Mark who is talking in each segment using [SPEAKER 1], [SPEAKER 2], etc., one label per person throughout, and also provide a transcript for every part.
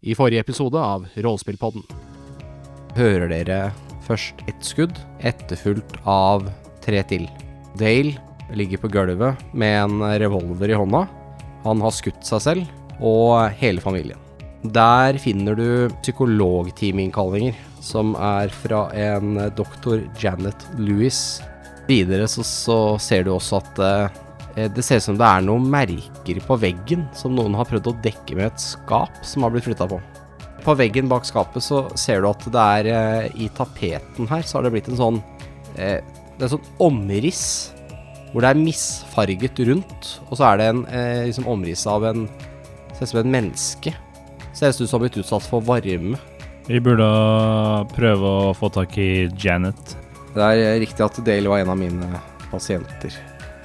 [SPEAKER 1] i forrige episode av Rollespillpodden.
[SPEAKER 2] hører dere først ett skudd, etterfulgt av tre til. Dale ligger på gulvet med en revolver i hånda. Han har skutt seg selv og hele familien. Der finner du psykologteaminnkallinger, som er fra en doktor Janet Lewis. Videre så, så ser du også at eh, det ser ut som det er noen merker på veggen som noen har prøvd å dekke med et skap som har blitt flytta på. På veggen bak skapet så ser du at det er eh, i tapeten her, så har det blitt en sånn eh, Det er en sånn omriss hvor det er misfarget rundt, og så er det en eh, liksom omriss av en Ser ut som et menneske. Ser ut som blitt utsatt for varme.
[SPEAKER 3] Vi burde prøve å få tak i Janet.
[SPEAKER 2] Det er eh, riktig at Dale var en av mine eh, pasienter.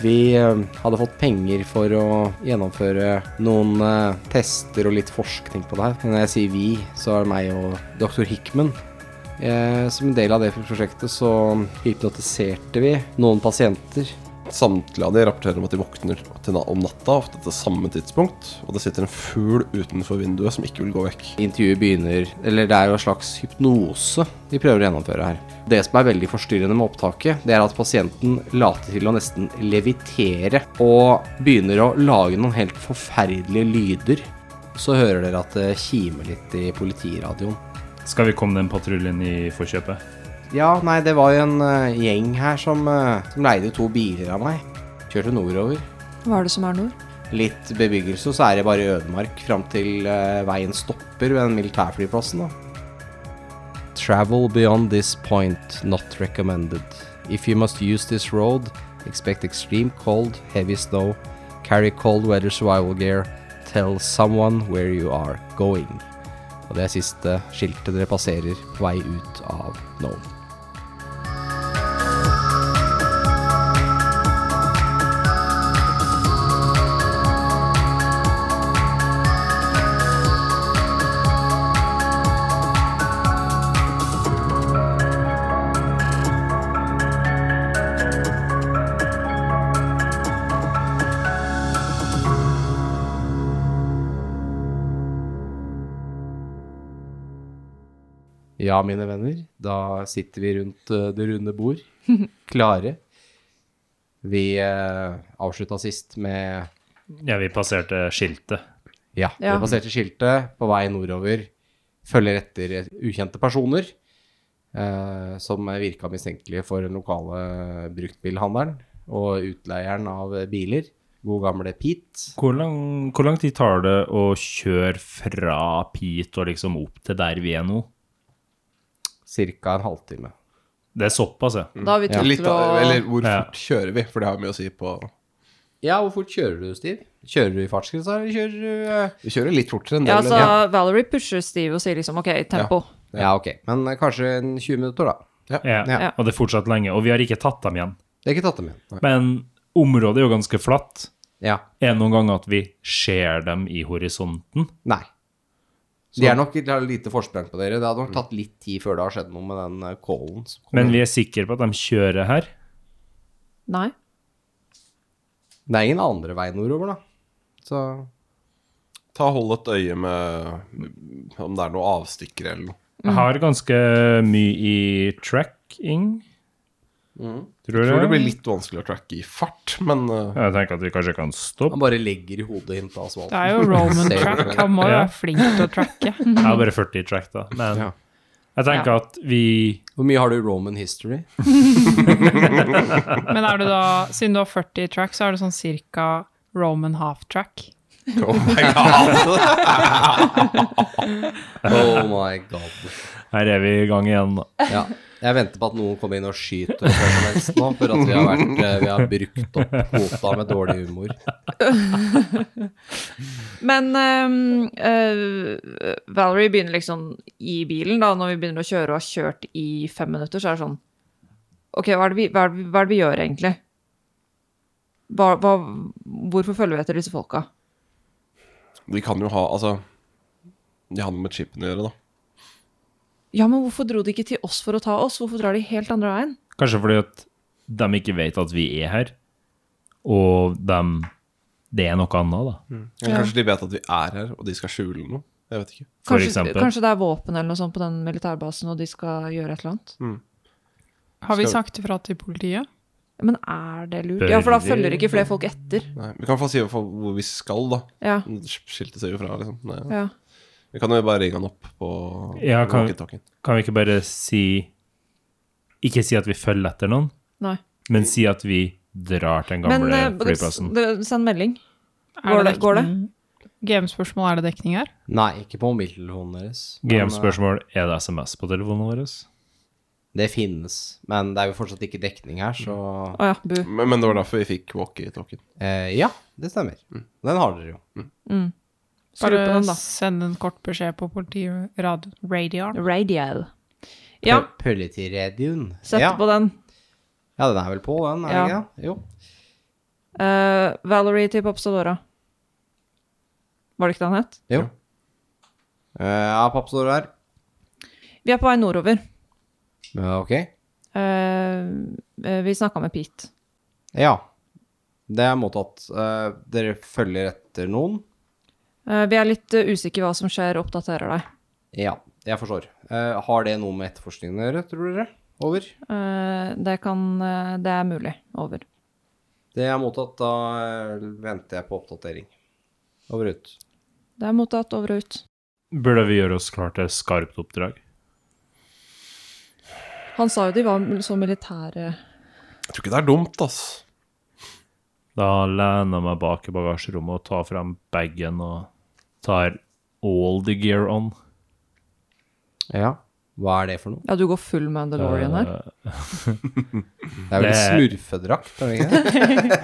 [SPEAKER 2] Vi eh, hadde fått penger for å gjennomføre noen eh, tester og litt forskning på det her. Når jeg sier vi, så er det meg og dr. Hickman. Eh, Som en del av det prosjektet så hypnotiserte vi noen pasienter.
[SPEAKER 4] Samtlige av de rapporterer om at de våkner til na- om natta, ofte til samme tidspunkt, og det sitter en fugl utenfor vinduet som ikke vil gå vekk.
[SPEAKER 2] Intervjuet begynner Eller det er jo en slags hypnose de prøver å gjennomføre her. Det som er veldig forstyrrende med opptaket, det er at pasienten later til å nesten levitere og begynner å lage noen helt forferdelige lyder. Så hører dere at det kimer litt i politiradioen.
[SPEAKER 3] Skal vi komme den patruljen i forkjøpet?
[SPEAKER 2] Ja, nei, det var jo en eh, gjeng her som, eh, som leide to biler av meg. Kjørte nordover.
[SPEAKER 5] Hva er det som er nord?
[SPEAKER 2] Litt bebyggelse, og så er det bare ødemark fram til eh, veien stopper ved den militærflyplassen. Da. Travel beyond this point not recommended. If you must use this road, expect extreme cold, heavy snow, carry cold weather survival gear, tell someone where you are going. Og det er siste skiltet dere passerer på vei ut av Nome. Ja, mine venner, da sitter vi rundt eh, det runde bord, klare. Vi eh, avslutta sist med
[SPEAKER 3] Ja, vi passerte skiltet.
[SPEAKER 2] Ja,
[SPEAKER 5] Ja.
[SPEAKER 2] det passerte skiltet på vei nordover. Følger etter ukjente personer eh, som virka mistenkelige for den lokale bruktbilhandelen og utleieren av biler. God gamle Pete.
[SPEAKER 3] Hvor lang, hvor lang tid tar det å kjøre fra Pete og liksom opp til der vi er nå?
[SPEAKER 2] Cirka en halvtime.
[SPEAKER 3] Det er såpass, ja.
[SPEAKER 5] Da har vi tatt
[SPEAKER 4] Litt
[SPEAKER 5] til å
[SPEAKER 4] av, eller hvor
[SPEAKER 3] Ja.
[SPEAKER 4] fort kjører vi? For det har mye å si på
[SPEAKER 2] Ja, hvor fort kjører du, Stiv? Kjører du i fartsgrensa, eller kjører du eh,
[SPEAKER 4] Vi kjører litt fortere enn det.
[SPEAKER 5] Ja,
[SPEAKER 4] vel?
[SPEAKER 5] altså, Valerie pusher Steve og sier liksom OK, tempo.
[SPEAKER 2] Ja, ok. Men eh, kanskje en 20 minutter, da.
[SPEAKER 3] ja.
[SPEAKER 2] Ja.
[SPEAKER 3] Og det er fortsatt lenge. Og vi har ikke tatt dem igjen.
[SPEAKER 2] Det er ikke tatt dem igjen. Nei.
[SPEAKER 3] Men området er jo ganske flatt.
[SPEAKER 2] Ja.
[SPEAKER 3] Er det noen gang at vi ser dem i horisonten?
[SPEAKER 2] Nei. De er nok de har lite forsprang på dere. Det hadde nok tatt litt tid før det har skjedd noe med den eh, callen. som kom.
[SPEAKER 3] Men vi er sikre på at de kjører her.
[SPEAKER 5] Nei.
[SPEAKER 2] Det er ingen andre vei nordover, da. Så
[SPEAKER 4] Ta og Hold et øye med om det er noen avstikkere eller noe.
[SPEAKER 3] Jeg har ganske mye i tracking. Tror
[SPEAKER 4] Mm. Jeg
[SPEAKER 3] jeg.
[SPEAKER 4] tror det blir litt vanskelig å tracke i fart, men eh,
[SPEAKER 3] Jeg tenker at vi kanskje kan stoppe.
[SPEAKER 2] han bare legger i hodet hint av asfalten.
[SPEAKER 6] Det er jo Roman
[SPEAKER 2] Ser du
[SPEAKER 6] track.
[SPEAKER 2] det?
[SPEAKER 6] Han må jo
[SPEAKER 3] Ja.
[SPEAKER 6] være flink til å
[SPEAKER 5] Mhm.
[SPEAKER 6] tracke.
[SPEAKER 3] Jeg har bare 40 i track, da. Men
[SPEAKER 2] Ja.
[SPEAKER 3] jeg tenker at vi
[SPEAKER 2] Hvor mye har du i Roman history?
[SPEAKER 6] Men er du da, siden du har 40 i track, så er det sånn cirka Roman half track.
[SPEAKER 2] Oh my god.
[SPEAKER 3] Her er vi i gang igjen. da.
[SPEAKER 2] Ja. Jeg venter på at noen kommer inn og skyter oss hvem som helst nå, for at vi har, vært, eh, vi har brukt opp kvota med dårlig humor.
[SPEAKER 5] Men ehm, eh, Valerie begynner liksom i bilen, da, når vi begynner å kjøre og har kjørt i fem minutter, så er det sånn OK, hva er det vi, hva er det, vi- hva er det vi gjør, egentlig? Hva, hva, hvorfor følger vi etter disse folka?
[SPEAKER 4] de kan jo ha Altså, de har noe med chipene å gjøre, da.
[SPEAKER 5] Ja, men hvorfor dro de ikke til oss for å ta oss? Hvorfor drar de helt andre veien?
[SPEAKER 3] Kanskje fordi at de ikke vet at vi er her, og dem Det er noe annet, da.
[SPEAKER 4] Eller Kanskje de vet at vi er her, og de skal skjule noe. Jeg vet ikke.
[SPEAKER 3] For
[SPEAKER 5] Kanskje,
[SPEAKER 3] eksempel.
[SPEAKER 5] kanskje det er våpen eller noe sånt på den militærbasen, og de skal gjøre et eller annet.
[SPEAKER 6] Har vi
[SPEAKER 4] Skal-
[SPEAKER 6] sagt ifra til politiet?
[SPEAKER 5] Men er det lurt?
[SPEAKER 3] Bør
[SPEAKER 5] Ja, for da
[SPEAKER 3] vi-
[SPEAKER 5] følger ikke flere folk etter.
[SPEAKER 4] Nei, vi kan i hvert fall si i hvert fall hvor vi skal, da.
[SPEAKER 5] Ja,
[SPEAKER 4] Skiltet ser jo fra, liksom. Nei, ja.
[SPEAKER 5] ja.
[SPEAKER 4] Vi kan jo bare ringe han opp på
[SPEAKER 3] Ja, kan-
[SPEAKER 4] walkietalkien.
[SPEAKER 3] Kan vi ikke bare si Ikke si at vi følger etter noen,
[SPEAKER 5] Nei.
[SPEAKER 3] men si at vi drar til den gamle
[SPEAKER 5] Men eh,
[SPEAKER 3] flyplassen.
[SPEAKER 5] det- send melding.
[SPEAKER 6] Er
[SPEAKER 5] Går det- går det?
[SPEAKER 6] dekning? GM-spørsmål, er det dekning her?
[SPEAKER 2] Nei, ikke på mobiltelefonen deres. Men, eh,
[SPEAKER 3] GM-spørsmål er det SMS på telefonen vår?
[SPEAKER 2] Det finnes, men det er jo fortsatt ikke dekning her, så
[SPEAKER 5] Å ja, bu.
[SPEAKER 4] Men, men det var derfor vi fikk walkietalkien.
[SPEAKER 2] eh, Ja, det stemmer. Den har dere jo.
[SPEAKER 5] Skru på
[SPEAKER 6] Bare
[SPEAKER 5] den, da.
[SPEAKER 6] send en kort beskjed på politiradioen.
[SPEAKER 5] Radio. Ja,
[SPEAKER 2] Politiradioen.
[SPEAKER 5] sett
[SPEAKER 2] ja.
[SPEAKER 5] på den.
[SPEAKER 2] ja, den er vel på, den? er
[SPEAKER 5] Ja.
[SPEAKER 2] det ikke? Jo.
[SPEAKER 5] Eh, Valerie til Popstadora. Var det ikke det han het?
[SPEAKER 2] jo. Eh, ja, papp står her.
[SPEAKER 5] Vi er på vei nordover.
[SPEAKER 2] Ja, ok.
[SPEAKER 5] Eh, eh, vi snakka med Pete.
[SPEAKER 2] Ja. Det er mottatt. Eh, dere følger etter noen?
[SPEAKER 5] Eh, vi er litt eh, usikre hva som skjer, oppdaterer deg.
[SPEAKER 2] Ja, jeg forstår. Eh, har det noe med etterforskningen å gjøre, tror dere? Over.
[SPEAKER 5] Eh, det kan eh, Det er mulig. Over.
[SPEAKER 2] Det er mottatt. Da eh, venter jeg på oppdatering. Over ut.
[SPEAKER 5] Det er mottatt over og ut.
[SPEAKER 3] Burde vi gjøre oss klar til skarpt oppdrag?
[SPEAKER 5] Han sa jo de var så militære
[SPEAKER 4] Jeg tror ikke det er dumt, ass.
[SPEAKER 3] Da lener jeg meg bak i bagasjerommet og tar frem bagen og tar all the gear on.
[SPEAKER 2] Ja. Hva er det for noe?
[SPEAKER 5] Ja, du går full Mandalorian her.
[SPEAKER 3] Eh,
[SPEAKER 2] Det er vel
[SPEAKER 3] Det-
[SPEAKER 2] smurfedrakt, er det ikke det?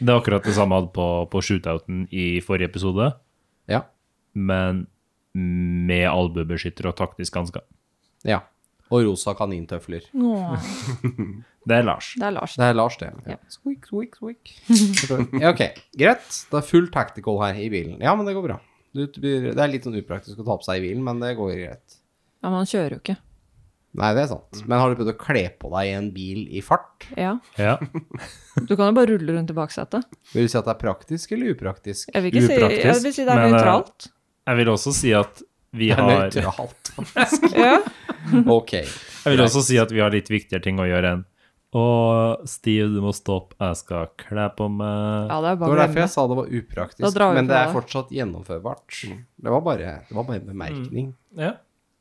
[SPEAKER 3] Det er akkurat det samme jeg hadde på, på shootouten i forrige episode,
[SPEAKER 2] Ja.
[SPEAKER 3] men med albuebeskytter og taktisk hanske.
[SPEAKER 2] ja. Og rosa kanintøfler.
[SPEAKER 5] Åh,
[SPEAKER 3] Det er Lars.
[SPEAKER 5] det er Lars.
[SPEAKER 2] Det er Lars, det. Ja. Squeak, squeak, squeak. Forstår. Ja, ok, greit. Det er full tactical her i bilen. Ja, men det går bra. Du- du blir- Det er litt sånn upraktisk å ta på seg i bilen, men det går greit.
[SPEAKER 5] Ja, men han kjører jo ikke.
[SPEAKER 2] Nei, det er sant. Men har du prøvd å kle på deg i en bil i fart?
[SPEAKER 5] Ja.
[SPEAKER 3] Ja.
[SPEAKER 5] Du kan jo bare rulle rundt i baksetet.
[SPEAKER 2] Vil du si at det er praktisk eller upraktisk?
[SPEAKER 5] Jeg vil ikke si, jeg
[SPEAKER 3] Upraktisk,
[SPEAKER 5] vil si det er
[SPEAKER 3] men, eh,
[SPEAKER 5] nøytralt.
[SPEAKER 3] Jeg vil også si at vi
[SPEAKER 2] Det er
[SPEAKER 3] har
[SPEAKER 2] nøytralt.
[SPEAKER 5] Ja.
[SPEAKER 2] Ok.
[SPEAKER 3] Jeg vil også si at vi har litt viktigere ting å gjøre enn Å, Steve, du må stoppe, jeg skal kle på meg.
[SPEAKER 5] ja, det er
[SPEAKER 2] Det var
[SPEAKER 5] bare å
[SPEAKER 2] derfor jeg
[SPEAKER 5] glemme.
[SPEAKER 2] sa det var
[SPEAKER 5] Da
[SPEAKER 2] upraktisk,
[SPEAKER 5] drar vi
[SPEAKER 2] men
[SPEAKER 5] på
[SPEAKER 2] det er
[SPEAKER 5] det.
[SPEAKER 2] fortsatt gjennomførbart. Det var bare, det var bare en bemerkning.
[SPEAKER 3] Ja.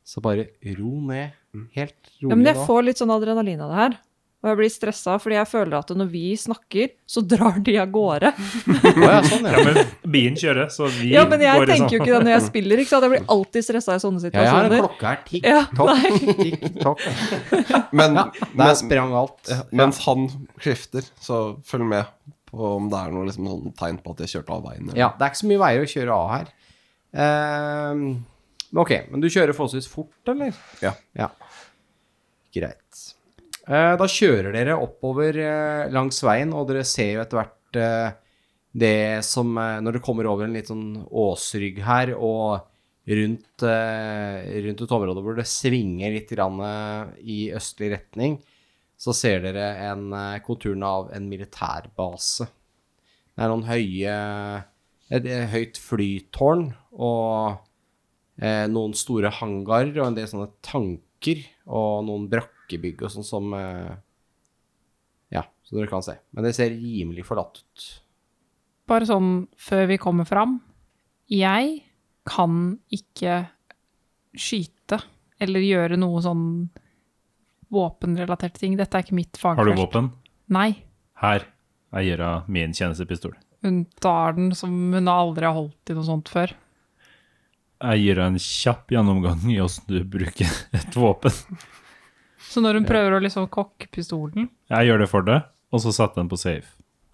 [SPEAKER 2] Så bare ro ned. Helt
[SPEAKER 5] Ja, men
[SPEAKER 2] rolig
[SPEAKER 5] jeg
[SPEAKER 2] nå.
[SPEAKER 5] får litt sånn adrenalin av det her. Og jeg blir stressa, fordi jeg føler at når vi snakker, så drar de av gårde.
[SPEAKER 2] Å, ja, sånn, ja.
[SPEAKER 3] Ja, men bilen kjører, så vi
[SPEAKER 5] Ja, men jeg
[SPEAKER 3] går i sånn-
[SPEAKER 5] tenker jo
[SPEAKER 3] sammen.
[SPEAKER 5] ikke det når jeg spiller, ikke sant. Jeg blir alltid stressa i sånne
[SPEAKER 2] sånn- Ja, jeg har en
[SPEAKER 5] situasjoner.
[SPEAKER 2] klokke her. Tikk,
[SPEAKER 5] Altså, Ja,
[SPEAKER 2] tokk, tikk, tokk.
[SPEAKER 4] Men,
[SPEAKER 2] Ja, der
[SPEAKER 4] men
[SPEAKER 2] sprang alt.
[SPEAKER 4] ja, mens han skifter, så følg med på om det er noe liksom, sånn tegn på at de har kjørt av veien. eller-
[SPEAKER 2] Ja, det er ikke så mye veier å kjøre av her. Ehm, men ok, men du kjører forholdsvis fort, eller?
[SPEAKER 4] Ja.
[SPEAKER 2] Greit. Eh, da kjører dere oppover eh, langs veien, og dere ser jo etter hvert eh, det som eh, Når dere kommer over en litt sånn åsrygg her, og rundt, eh, rundt et område hvor det svinger litt grann, eh, i østlig retning, så ser dere en, eh, konturen av en militærbase. Det er noen høye Et et høyt flytårn og eh, noen store hangarer og en del sånne tanker og noen brakkebygg og sånn som eh, Ja, som dere kan se. Men det ser rimelig forlatt ut.
[SPEAKER 6] Bare sånn før vi kommer fram. Jeg kan ikke skyte eller gjøre noe sånn våpenrelaterte ting. Dette er ikke mitt fagfelt.
[SPEAKER 3] Har du våpen?
[SPEAKER 6] Nei.
[SPEAKER 3] Her. Jeg gir henne min tjenestepistol.
[SPEAKER 6] Hun tar den som hun aldri har holdt i noe sånt før.
[SPEAKER 3] Jeg gir henne en kjapp gjennomgang i åssen du bruker et våpen.
[SPEAKER 6] Så når hun prøver å liksom kokke pistolen
[SPEAKER 3] Jeg gjør det for deg, og så setter den på safe.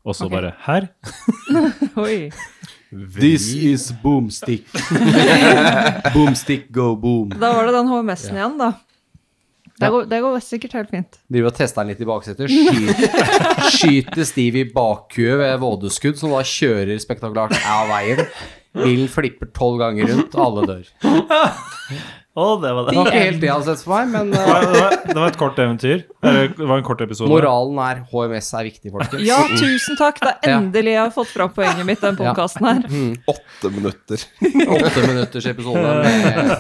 [SPEAKER 3] Og så
[SPEAKER 6] Ok.
[SPEAKER 3] bare Her.
[SPEAKER 5] Oi.
[SPEAKER 2] This is boomstick. boomstick go boom.
[SPEAKER 5] Da var det den HMS-en igjen, da. Det går, det går sikkert helt fint.
[SPEAKER 2] Driver og tester den litt i baksetet. Skyter, skyter Steve i bakhuet ved vådeskudd, som da kjører spektakulært av veien. Bilen flipper tolv ganger rundt, alle dør. Det
[SPEAKER 3] Å, det var det.
[SPEAKER 2] var ikke helt det jeg hadde sett for meg, men
[SPEAKER 3] Det
[SPEAKER 2] eh,
[SPEAKER 3] var, det var- det var et kort eventyr. Eller, Det var en kort episode.
[SPEAKER 2] moralen er HMS er viktig, folkens.
[SPEAKER 5] Ja, tusen takk. Det er
[SPEAKER 2] Ja.
[SPEAKER 5] endelig jeg har fått fram poenget mitt, den
[SPEAKER 2] Ja.
[SPEAKER 5] podkasten her.
[SPEAKER 4] Åtte minutter.
[SPEAKER 2] Åtte minutters episode med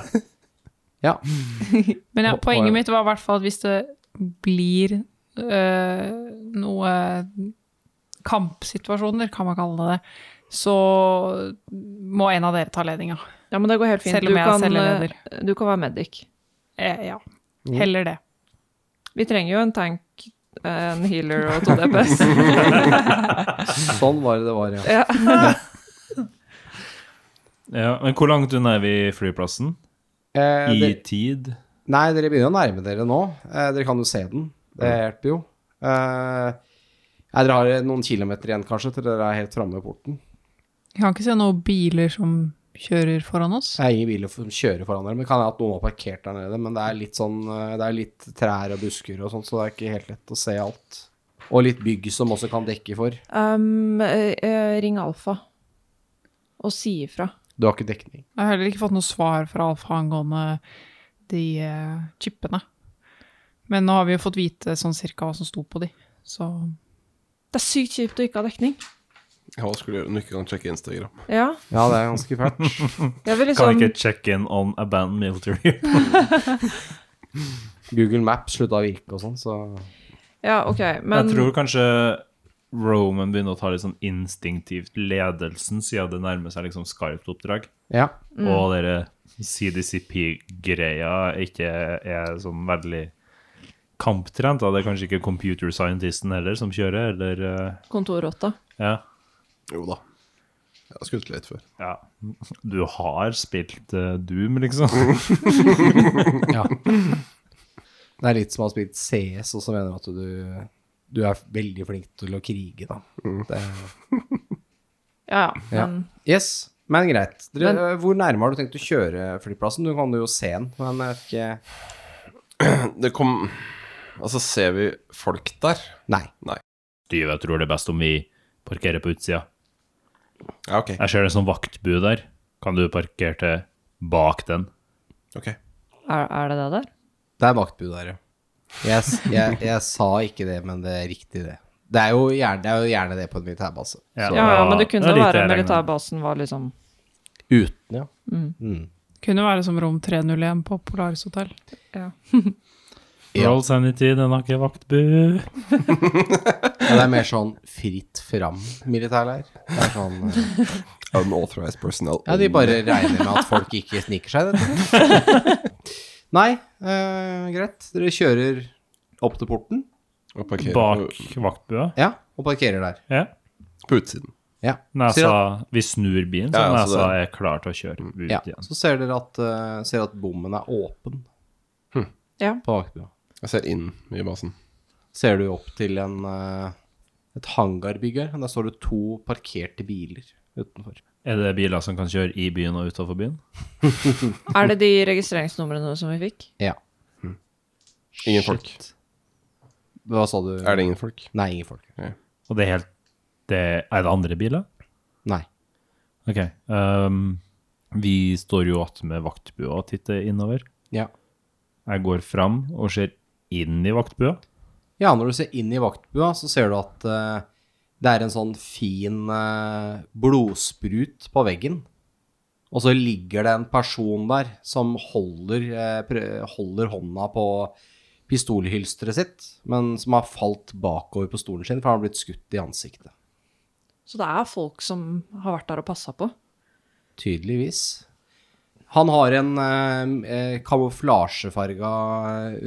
[SPEAKER 6] Men
[SPEAKER 2] Og-
[SPEAKER 6] ja,
[SPEAKER 2] og-
[SPEAKER 6] poenget mitt var i hvert fall at hvis det blir øh, noe kampsituasjoner, kan man kalle det, så må en av dere ta ledninga.
[SPEAKER 5] Ja, men det går helt fint.
[SPEAKER 6] Selv om jeg er
[SPEAKER 5] kan,
[SPEAKER 6] celleredder.
[SPEAKER 5] eh, du kan være medic.
[SPEAKER 6] Eh, ja.
[SPEAKER 5] Mm.
[SPEAKER 6] Heller det.
[SPEAKER 5] Vi trenger jo en tank, en healer og to DPS.
[SPEAKER 2] Sånn var det det var, ja.
[SPEAKER 5] ja.
[SPEAKER 3] Ja, men hvor langt unna er vi flyplassen?
[SPEAKER 2] Eh,
[SPEAKER 3] I
[SPEAKER 2] det,
[SPEAKER 3] tid?
[SPEAKER 2] nei, dere begynner å nærme dere nå. Eh, dere kan jo se den. Det hjelper jo. Eh, nei, dere har noen kilometer igjen, kanskje, til dere er helt framme ved porten.
[SPEAKER 6] Jeg kan ikke se noen biler som kjører foran oss.
[SPEAKER 2] Det er ingen biler som kjører foran dere, men det kan hende at noen har parkert der nede. Men det er litt sånn eh, Det er litt trær og busker og sånt, så det er ikke helt lett å se alt. Og litt bygg som også kan dekke for.
[SPEAKER 5] Um, eh, eh, ring Alfa og si ifra.
[SPEAKER 2] Du har ikke dekning.
[SPEAKER 6] Jeg har heller ikke fått noe svar fra Alfa angående de eh, chipene. Men nå har vi jo fått vite sånn cirka hva som sto på de, så
[SPEAKER 5] Det er sykt kjipt å ikke ha dekning.
[SPEAKER 4] Ja, hva skulle du gjøre når du ikke kan sjekke Instagram?
[SPEAKER 5] Ja,
[SPEAKER 2] Ja, det er ganske fælt.
[SPEAKER 5] jeg vil
[SPEAKER 3] Kan
[SPEAKER 5] liksom
[SPEAKER 3] ikke check in on abandoned military.
[SPEAKER 2] Google Maps slutta å virke og sånn, så
[SPEAKER 5] Ja, ok, men
[SPEAKER 3] Jeg tror kanskje Roman begynner å ta litt sånn instinktivt ledelsen, siden det nærmer seg liksom skarpt oppdrag.
[SPEAKER 2] Ja.
[SPEAKER 3] Og dere CDCP-greia ikke er sånn veldig kamptrent. Da. Det er kanskje ikke computer scientisten heller som kjører, eller eh,
[SPEAKER 5] kontorrotta.
[SPEAKER 3] ja.
[SPEAKER 4] Jo da. Jeg har skutt litt før.
[SPEAKER 3] ja. Du har spilt eh, Doom, liksom.
[SPEAKER 2] Ja. Det er litt som å ha spilt CS, og så mener du at du, du er veldig flink til å krige, da. Det,
[SPEAKER 5] Ja, ja.
[SPEAKER 2] ja.
[SPEAKER 5] Men
[SPEAKER 2] Yes, men greit. Dere, øh, hvor nærme har du tenkt å kjøre flyplassen? Du kan jo se den, men jeg vet ikke
[SPEAKER 4] Det kom Altså, ser vi folk der?
[SPEAKER 2] Nei.
[SPEAKER 3] Styve, jeg tror det er best om vi parkerer på utsida.
[SPEAKER 4] Ja, ok.
[SPEAKER 3] Jeg ser det som vaktbu der. Kan du parkere til bak den?
[SPEAKER 4] ok
[SPEAKER 5] er, er det det der?
[SPEAKER 2] Det er vaktbud der, ja. Jeg, s- jeg, jeg sa ikke det, men det er riktig, det. Det er jo gjerne det, er jo gjerne det på en militærbase.
[SPEAKER 3] Ja,
[SPEAKER 5] Ja, ja, men det kunne
[SPEAKER 3] er litt
[SPEAKER 5] være
[SPEAKER 3] jeg regner med.
[SPEAKER 5] militærbasen var liksom
[SPEAKER 2] Uten, ja.
[SPEAKER 6] kunne være som rom 301 på Polaris hotell.
[SPEAKER 2] Ja.
[SPEAKER 3] Roll sanity, den har ikke vaktbu.
[SPEAKER 2] Men det er mer sånn fritt fram militærleir. Det er sånn øh,
[SPEAKER 4] Unauthorized personnel.
[SPEAKER 2] Ja, de bare regner med at folk ikke sniker seg, dette. Nei, eh, greit. Dere kjører opp til porten
[SPEAKER 4] Og parkerer
[SPEAKER 3] Bak
[SPEAKER 4] på,
[SPEAKER 3] vaktbua.
[SPEAKER 2] ja, og parkerer der.
[SPEAKER 3] Ja.
[SPEAKER 4] på utsiden.
[SPEAKER 2] Ja. Ser at,
[SPEAKER 3] Nesa, vi snur bilen, så
[SPEAKER 4] Ja, ja, så
[SPEAKER 3] nesa er klar til å kjøre ut
[SPEAKER 2] ja.
[SPEAKER 3] igjen.
[SPEAKER 2] Så ser dere at, eh, ser at bommen er åpen
[SPEAKER 5] Ja.
[SPEAKER 2] på bakbrua.
[SPEAKER 4] Jeg ser inn i basen.
[SPEAKER 2] Ser du opp til en, eh, et hangarbygg her. Der står det to parkerte biler utenfor.
[SPEAKER 3] Er det biler som kan kjøre i byen og utafor byen?
[SPEAKER 5] Er det de registreringsnumrene som vi fikk?
[SPEAKER 2] Ja.
[SPEAKER 4] Ingen folk.
[SPEAKER 2] Hmm. Hva sa du?
[SPEAKER 4] Er det ingen folk?
[SPEAKER 2] Nei, ingen folk.
[SPEAKER 3] Og det er helt det, Er det andre biler?
[SPEAKER 2] Nei.
[SPEAKER 3] OK. ehm, vi står jo attmed vaktbua og titter innover.
[SPEAKER 2] Ja.
[SPEAKER 3] Jeg går fram og ser inn i vaktbua.
[SPEAKER 2] Ja, når du ser inn i vaktbua, så ser du at eh, det er en sånn fin eh, blodsprut på veggen. Og så ligger det en person der som holder, eh, prø- holder hånda på pistolhylsteret sitt, men som har falt bakover på stolen sin, for han har blitt skutt i ansiktet.
[SPEAKER 5] Så det er folk som har vært der og passa på?
[SPEAKER 2] Tydeligvis. Han har en eh, eh, kamuflasjefarga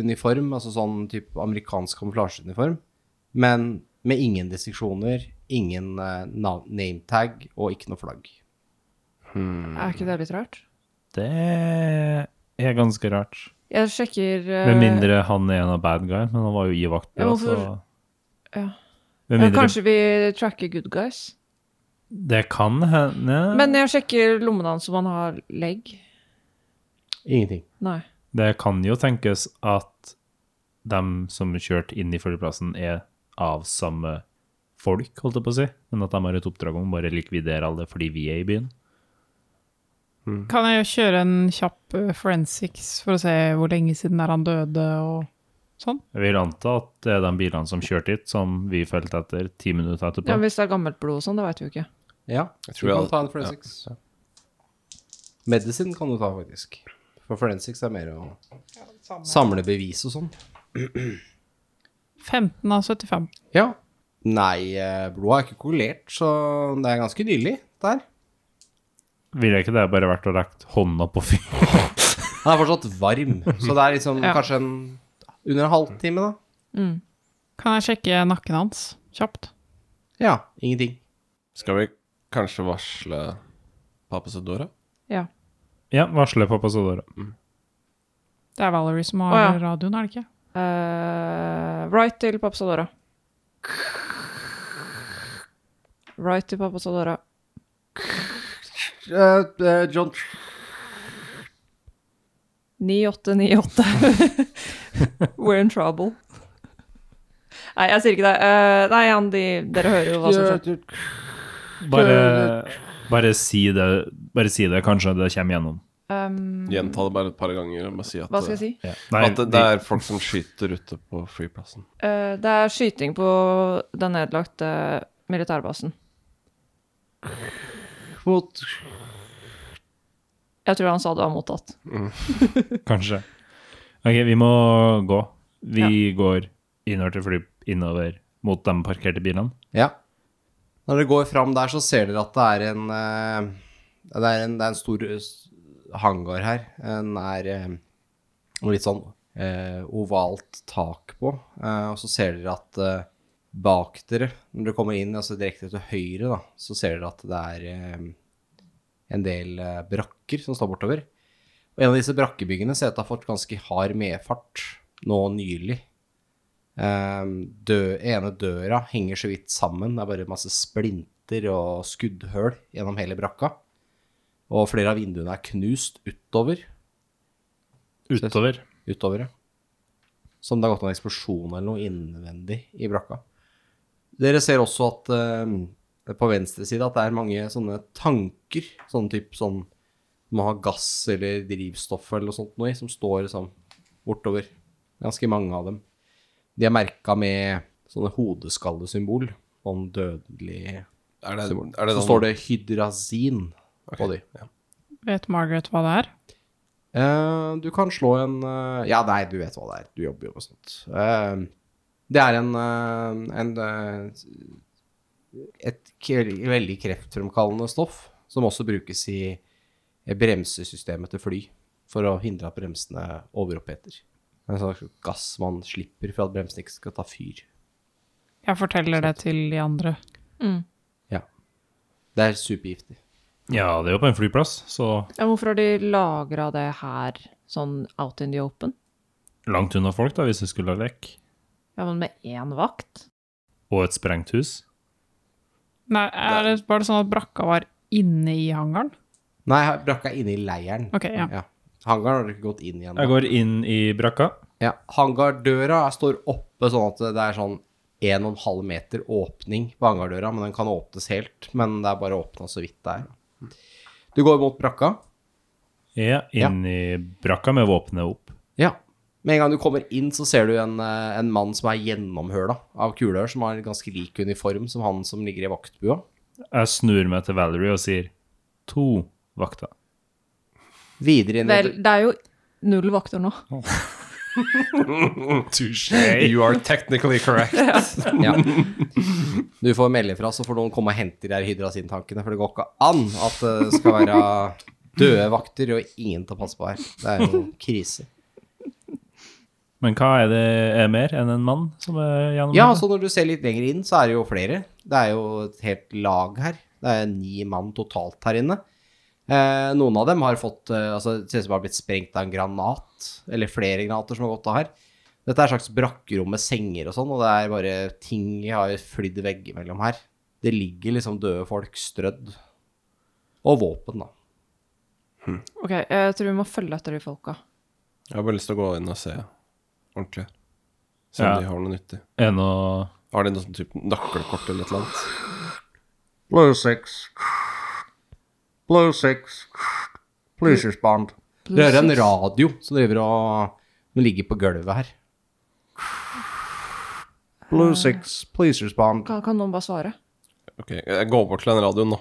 [SPEAKER 2] uniform, altså sånn type amerikansk kamuflasjeuniform, men med ingen distinksjoner, ingen eh, nav- nametag og ikke noe flagg.
[SPEAKER 5] Er ikke det litt rart?
[SPEAKER 3] Det er ganske rart.
[SPEAKER 5] Jeg sjekker eh,
[SPEAKER 3] Med mindre han er en av bad guy, men han var jo i vaktbua,
[SPEAKER 5] Ja,
[SPEAKER 3] så
[SPEAKER 5] hvorfor- ja.
[SPEAKER 3] Med
[SPEAKER 5] eh,
[SPEAKER 3] mindre
[SPEAKER 5] Kanskje vi tracker good guys?
[SPEAKER 3] Det kan hende
[SPEAKER 5] Men jeg sjekker lommene hans om han har legg.
[SPEAKER 2] Ingenting.
[SPEAKER 5] Nei.
[SPEAKER 3] Det kan jo tenkes at dem som kjørte inn i flyplassen er av samme folk, holdt jeg på å si, men at de har et oppdrag om å bare likvidere alle fordi vi er i byen.
[SPEAKER 6] Kan jeg jo kjøre en kjapp eh, forensics for å se hvor lenge siden er han døde og sånn?
[SPEAKER 3] Jeg vil anta at det er de bilene som kjørte hit, som vi fulgte etter ti minutter etterpå.
[SPEAKER 5] Ja, men hvis det er gammelt blod og sånn, det veit vi jo ikke.
[SPEAKER 2] Ja,
[SPEAKER 4] Jeg
[SPEAKER 2] du
[SPEAKER 4] tror
[SPEAKER 2] kan
[SPEAKER 4] jeg-
[SPEAKER 2] ta en forensics. Medisin kan du ta, faktisk. For forensics er mer å samle bevis og sånn.
[SPEAKER 6] 15 av 75.
[SPEAKER 2] Ja. Nei, eh, blodet er ikke kollert, så det er ganske nylig der.
[SPEAKER 3] Ville ikke det bare vært å rekke hånda på fyren?
[SPEAKER 2] Han er fortsatt varm, så det er liksom
[SPEAKER 6] Ja.
[SPEAKER 2] kanskje en under en halvtime, da.
[SPEAKER 6] Kan jeg sjekke nakken hans kjapt?
[SPEAKER 2] Ja, ingenting.
[SPEAKER 4] Skal vi kanskje varsle Papa Sedora?
[SPEAKER 5] Ja.
[SPEAKER 3] Ja, varsler pappa Sodora.
[SPEAKER 6] Det er Valerie som har
[SPEAKER 5] Å, ja.
[SPEAKER 6] radioen, er det ikke?
[SPEAKER 5] Eh, right til Papsadora. Right til Papsadora.
[SPEAKER 2] John
[SPEAKER 5] 9898. We're in trouble. Nei, jeg sier ikke det. Eh, nei, Jan, de, dere hører jo hva som skjer.
[SPEAKER 3] Bare, bare si det, bare si det. Kanskje det kommer gjennom.
[SPEAKER 5] Um,
[SPEAKER 4] Gjenta det bare et par ganger og bare si at, eh,
[SPEAKER 5] hva skal jeg si?
[SPEAKER 3] Nei,
[SPEAKER 4] at det, det er folk som skyter ute på flyplassen.
[SPEAKER 5] Eh, det er skyting på den nedlagte militærbasen.
[SPEAKER 2] mot
[SPEAKER 5] Jeg tror han sa det var mottatt.
[SPEAKER 3] de- kanskje. Ok, vi må gå. Vi går innover til fly, innover mot de parkerte bilene.
[SPEAKER 2] Ja. Når dere går fram der, så ser dere at det er en eh, Det er en, det er en stor eh, s- hangar her. Den er eh, noe litt sånn eh, ovalt tak på. Eh, og så ser dere at eh, bak dere, når dere kommer inn, altså direkte til høyre, da, så ser dere at det er eh, en del eh, brakker som står bortover. Og en av disse brakkebyggene ser ut til å ha fått ganske hard medfart nå nylig. Ehm, dø, ene døra henger så vidt sammen. Det er bare masse splinter og skuddhull gjennom hele brakka. Og flere av vinduene er knust utover.
[SPEAKER 3] Utover.
[SPEAKER 2] utover ja. Som det har gått en eksplosjon eller noe innvendig i brakka. Dere ser også at eh, på venstre side at det er mange sånne tanker, sånn typ sånn må ha gass eller drivstoff eller noe sånt noe i, som står liksom bortover. Ganske mange av dem. De er merka med sånne hodeskallesymbol, sånn dødelig
[SPEAKER 4] Er det,
[SPEAKER 2] symbol.
[SPEAKER 4] er det sånn-
[SPEAKER 2] Så står det hydrazin på de.
[SPEAKER 6] Vet Margaret hva det er?
[SPEAKER 2] Eh, du kan slå en eh, Ja, nei, du vet hva det er. Du jobber jo med sånt. Eh, det er en, eh, en eh, Et k- veldig kreftfremkallende stoff som også brukes i bremsesystemet til fly for å hindre at bremsene overoppheter. Det er En slags gass man slipper for at bremsene ikke skal ta fyr.
[SPEAKER 6] Jeg forteller det til de andre.
[SPEAKER 5] Mm.
[SPEAKER 2] Ja. Det er supergiftig.
[SPEAKER 3] Ja, det er jo på en flyplass, så
[SPEAKER 5] Ja, hvorfor har de lagra det her, sånn out in the open?
[SPEAKER 3] langt unna folk, da, hvis det skulle ha lekk.
[SPEAKER 5] Ja, men med én vakt?
[SPEAKER 3] Og et sprengt hus.
[SPEAKER 6] Nei, er det, var det sånn at brakka var inne i hangaren?
[SPEAKER 2] Nei, brakka er inne i leiren.
[SPEAKER 6] Ok, ja.
[SPEAKER 2] Hangaren har du ikke gått inn igjen. da.
[SPEAKER 3] Jeg går inn i brakka.
[SPEAKER 2] Ja, hangardøra står oppe sånn at det er sånn 1,5 meter åpning på hangardøra, men den kan åpnes helt, men det er bare åpna så vidt der. Du går mot brakka.
[SPEAKER 3] Ja, inn i brakka med våpenet opp.
[SPEAKER 2] Ja. Med en gang du kommer inn, så ser du en, eh, en mann som er gjennomhøla av kulør, som har en ganske lik uniform som han som ligger i vaktbua.
[SPEAKER 3] Jeg snur meg til Valerie og sier to vakter.
[SPEAKER 2] Videre inn i
[SPEAKER 5] Vel, det er jo null vakter nå.
[SPEAKER 4] You are technically correct.
[SPEAKER 2] Ja. Du får melde fra, så får noen komme og hente de der hydrasintankene, for det går ikke an at det skal være døde vakter og ingen til å passe på her. Det er jo krise.
[SPEAKER 3] Men hva er det er mer enn en mann som er gjennom
[SPEAKER 2] Ja, altså-
[SPEAKER 3] her?
[SPEAKER 2] så når du ser litt lenger inn, så er det jo flere. Det er jo et helt lag her. Det er ni mann totalt her inne. Eh, noen av dem har fått eh, altså, Det ser ut som de har blitt sprengt av en granat, eller flere granater som har gått av her. Dette er et slags brakkerom med senger og sånn, og det er bare ting har flydd veggimellom her. Det ligger liksom døde folk strødd. Og våpen, da.
[SPEAKER 5] Ok, jeg tror vi må følge etter de folka.
[SPEAKER 4] Jeg har bare lyst til å gå inn og se ordentlig. Se om
[SPEAKER 3] Ja.
[SPEAKER 4] de har noe nyttig.
[SPEAKER 3] Er det noe
[SPEAKER 4] Har de noe sånn type nøkkelkort eller et eller annet?
[SPEAKER 7] Blue six. Blue six.
[SPEAKER 2] Pleasures Band. Det er en radio som driver og Den ligger på gulvet her. Blue Six, Pleasures Band.
[SPEAKER 5] Kan, kan noen bare svare?
[SPEAKER 4] Ok, jeg går bort til den radioen nå.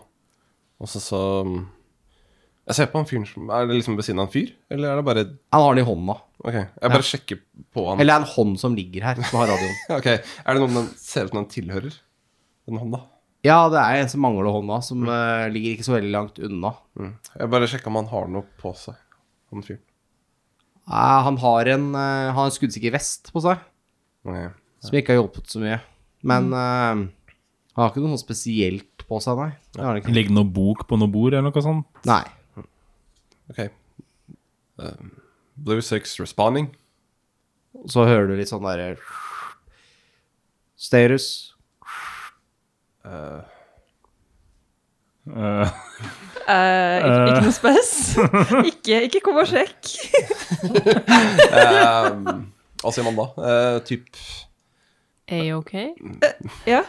[SPEAKER 4] Og så så um, Jeg ser på han fyren som Er det liksom ved siden av en fyr, eller er det bare
[SPEAKER 2] Han har den i hånda.
[SPEAKER 4] Ok, jeg bare sjekker på han.
[SPEAKER 2] Eller det er en hånd som ligger her, som har radioen.
[SPEAKER 4] Ok, Er det noen den ser ut som den tilhører? Den hånda?
[SPEAKER 2] Ja, det er en som mangler hånda, som eh, ligger ikke så veldig langt unna.
[SPEAKER 4] Mm. Jeg bare sjekker om han har noe på seg, han fyren.
[SPEAKER 2] Eh, han har en, eh, har en skuddsikker vest på seg,
[SPEAKER 4] Ok.
[SPEAKER 2] som ikke har hjulpet så mye. Men eh, han har ikke noe sånt spesielt på seg, nei. Det har han ikke.
[SPEAKER 3] Ligger det noe bok på noe bord, eller noe sånt?
[SPEAKER 2] Nei.
[SPEAKER 4] Ok. Eh, Blue Six responding.
[SPEAKER 2] Så hører du litt sånn derre Status.
[SPEAKER 3] Eh,
[SPEAKER 5] Eh, ikke, ikke noe spes. ikke, ikke kom og sjekk.
[SPEAKER 4] Hva sier man da? Eh, typ
[SPEAKER 6] A-OK?
[SPEAKER 5] Eh, Ja.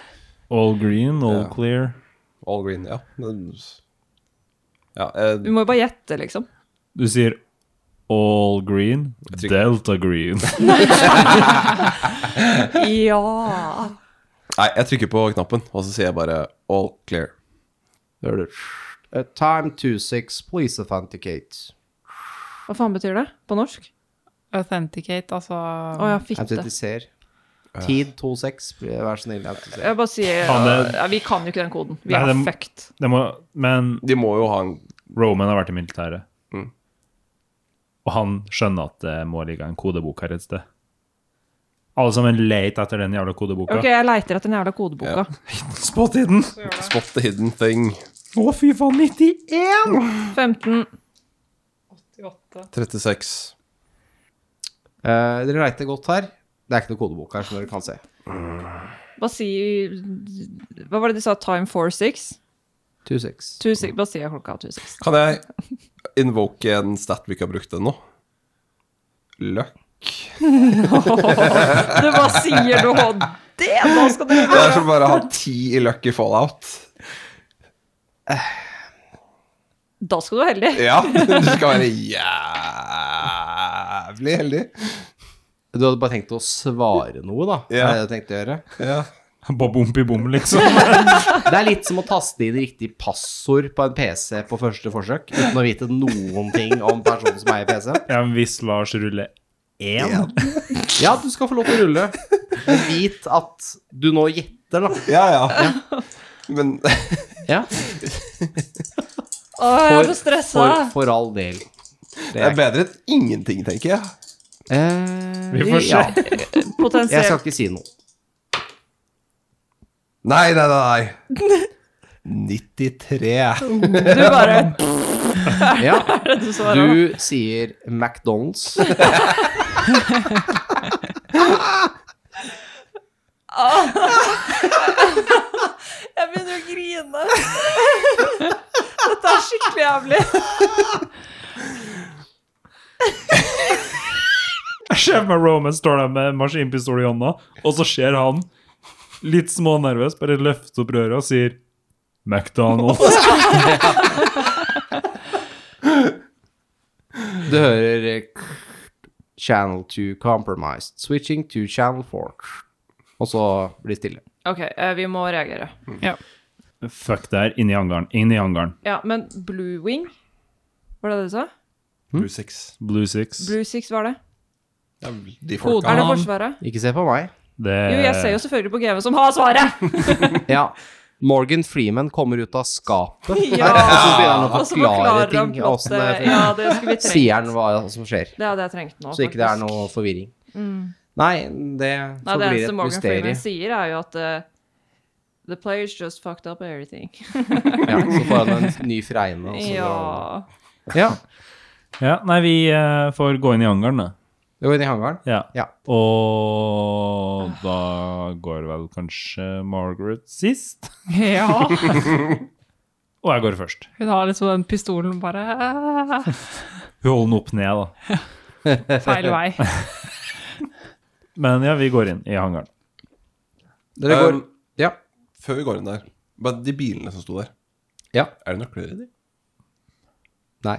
[SPEAKER 3] all green, all clear.
[SPEAKER 4] all green, ja. Men- Ja, eh,
[SPEAKER 5] Vi må jo bare gjette, liksom.
[SPEAKER 3] Du sier all green,
[SPEAKER 4] tror ikke-
[SPEAKER 3] delta green.
[SPEAKER 5] Ja.
[SPEAKER 4] nei, jeg trykker på knappen, og så sier jeg bare all clear.
[SPEAKER 2] Hører du Eh, Time 26, please authenticate.
[SPEAKER 5] Hva faen betyr det på norsk?
[SPEAKER 6] Authenticate, altså
[SPEAKER 5] Å ja, fitte.
[SPEAKER 2] Autentiser. Tid 26, vær så snill. autentiser.
[SPEAKER 5] Jeg bare sier
[SPEAKER 3] Faen, det-
[SPEAKER 5] ja, Vi kan jo ikke den koden. Vi
[SPEAKER 3] Nei,
[SPEAKER 5] er
[SPEAKER 3] det-
[SPEAKER 5] fucked.
[SPEAKER 3] Det må, men
[SPEAKER 4] De må jo ha en
[SPEAKER 3] Roman har vært i militæret.
[SPEAKER 4] Mm.
[SPEAKER 3] Og han skjønner at det må ligge en kodebok her et sted. Alle sammen leit etter den jævla kodeboka.
[SPEAKER 5] Ok, jeg leiter etter den jævla kodeboka.
[SPEAKER 3] Spot hidden!
[SPEAKER 4] spot the hidden thing.
[SPEAKER 3] Å, fy faen, 91!
[SPEAKER 5] 15.
[SPEAKER 4] 36.
[SPEAKER 2] Eh, dere leiter godt her. Det er ikke noe kodebok her, som dere kan se.
[SPEAKER 5] Hva sier Hva var det de sa? Time 46?
[SPEAKER 2] 26.
[SPEAKER 5] Two six- Hva sier jeg klokka 26?
[SPEAKER 4] Kan jeg invoke en stat vi ikke har brukt ennå? Løkk.
[SPEAKER 5] Du bare sier du og det! Nå skal dere
[SPEAKER 4] Det er som bare å ha ti i løkk i fallout.
[SPEAKER 5] Da skal du være heldig.
[SPEAKER 4] Ja, du skal være jævlig heldig.
[SPEAKER 2] Du hadde bare tenkt å svare noe, da.
[SPEAKER 4] Ja.
[SPEAKER 2] Det er det jeg tenkte å gjøre.
[SPEAKER 4] Ja.
[SPEAKER 3] Bob-ompi-bom, liksom.
[SPEAKER 2] Det er litt som å taste inn riktig passord på en PC på første forsøk, uten å vite noen ting om personen som eier PC.
[SPEAKER 3] Ja, men Hvis Lars ruller én
[SPEAKER 2] Ja, du skal få lov til å rulle. Men vit at du nå gjetter, da.
[SPEAKER 4] Ja, ja. Men
[SPEAKER 2] Ja,
[SPEAKER 5] Å, jeg er
[SPEAKER 2] For-
[SPEAKER 5] så stressa.
[SPEAKER 2] for, for all del.
[SPEAKER 4] det er bedre enn ingenting, tenker jeg.
[SPEAKER 2] Eh,
[SPEAKER 3] Vi får se.
[SPEAKER 2] Ja, jeg skal
[SPEAKER 5] Potensielt.
[SPEAKER 2] ikke si noe.
[SPEAKER 4] Nei, nei, nei. nei. 93.
[SPEAKER 5] Du bare
[SPEAKER 2] Ja,
[SPEAKER 5] Du svarer.
[SPEAKER 2] du sier McDonald's.
[SPEAKER 5] Jeg begynner å grine. Dette er skikkelig jævlig.
[SPEAKER 3] Jeg ser for meg Roman står der med maskinpistol i hånda, og så ser han, litt smånervøs, bare løfter opp røret og sier McDonald's.
[SPEAKER 2] Du hører eh, Channel 2 compromised. Switching to channel 4. Og så blir det stille.
[SPEAKER 5] Ok, eh, vi må reagere.
[SPEAKER 3] Fuck det her. Inn i hangaren. Inn i hangaren.
[SPEAKER 5] Ja, men Blue Wing, var det det du sa?
[SPEAKER 4] Blue six.
[SPEAKER 3] Blue Six.
[SPEAKER 5] Blue Six var det.
[SPEAKER 4] Det er vel De
[SPEAKER 5] Er
[SPEAKER 4] folka.
[SPEAKER 5] det
[SPEAKER 3] Ja.
[SPEAKER 5] Forsvaret?
[SPEAKER 2] Ikke se på meg.
[SPEAKER 3] Det,
[SPEAKER 2] eh,
[SPEAKER 5] Jo, jeg ser jo selvfølgelig på GV som har svaret!
[SPEAKER 2] Ja. Morgan Freeman kommer ut av skapet.
[SPEAKER 5] Ja.
[SPEAKER 2] Og så begynner han å
[SPEAKER 5] Og så
[SPEAKER 2] forklare
[SPEAKER 5] forklarer han
[SPEAKER 2] ting. og
[SPEAKER 5] plottet.
[SPEAKER 2] åssen det-
[SPEAKER 5] Ja, det skulle vi trengt.
[SPEAKER 2] Sier han hva som skjer.
[SPEAKER 5] Det hadde jeg trengt nå,
[SPEAKER 2] Så ikke det er
[SPEAKER 5] faktisk.
[SPEAKER 2] noe forvirring. Nei, det
[SPEAKER 5] Nei, det
[SPEAKER 2] forblir
[SPEAKER 5] eneste
[SPEAKER 2] et
[SPEAKER 5] Morgan
[SPEAKER 2] mysterium.
[SPEAKER 5] Freeman sier, er jo at eh, The players just fucked up everything.
[SPEAKER 2] Ja, så får han en ny fregne. og så-
[SPEAKER 5] Ja.
[SPEAKER 2] ja.
[SPEAKER 3] Ja, nei, vi eh, får gå inn i hangaren, da.
[SPEAKER 2] Det går inn i hangaren.
[SPEAKER 3] Ja.
[SPEAKER 2] Ja.
[SPEAKER 3] Og da går vel kanskje Margaret sist.
[SPEAKER 6] Ja.
[SPEAKER 3] Og jeg går først.
[SPEAKER 6] Hun har liksom den pistolen bare eh,
[SPEAKER 3] Hun holder den opp ned, da.
[SPEAKER 6] feil vei.
[SPEAKER 3] Men ja, vi går inn i hangaren.
[SPEAKER 2] Dere går
[SPEAKER 4] Um,
[SPEAKER 2] Ja.
[SPEAKER 4] Før vi går inn der, bare de bilene som sto der,
[SPEAKER 2] Ja.
[SPEAKER 4] er det nøkler i de?
[SPEAKER 2] Nei.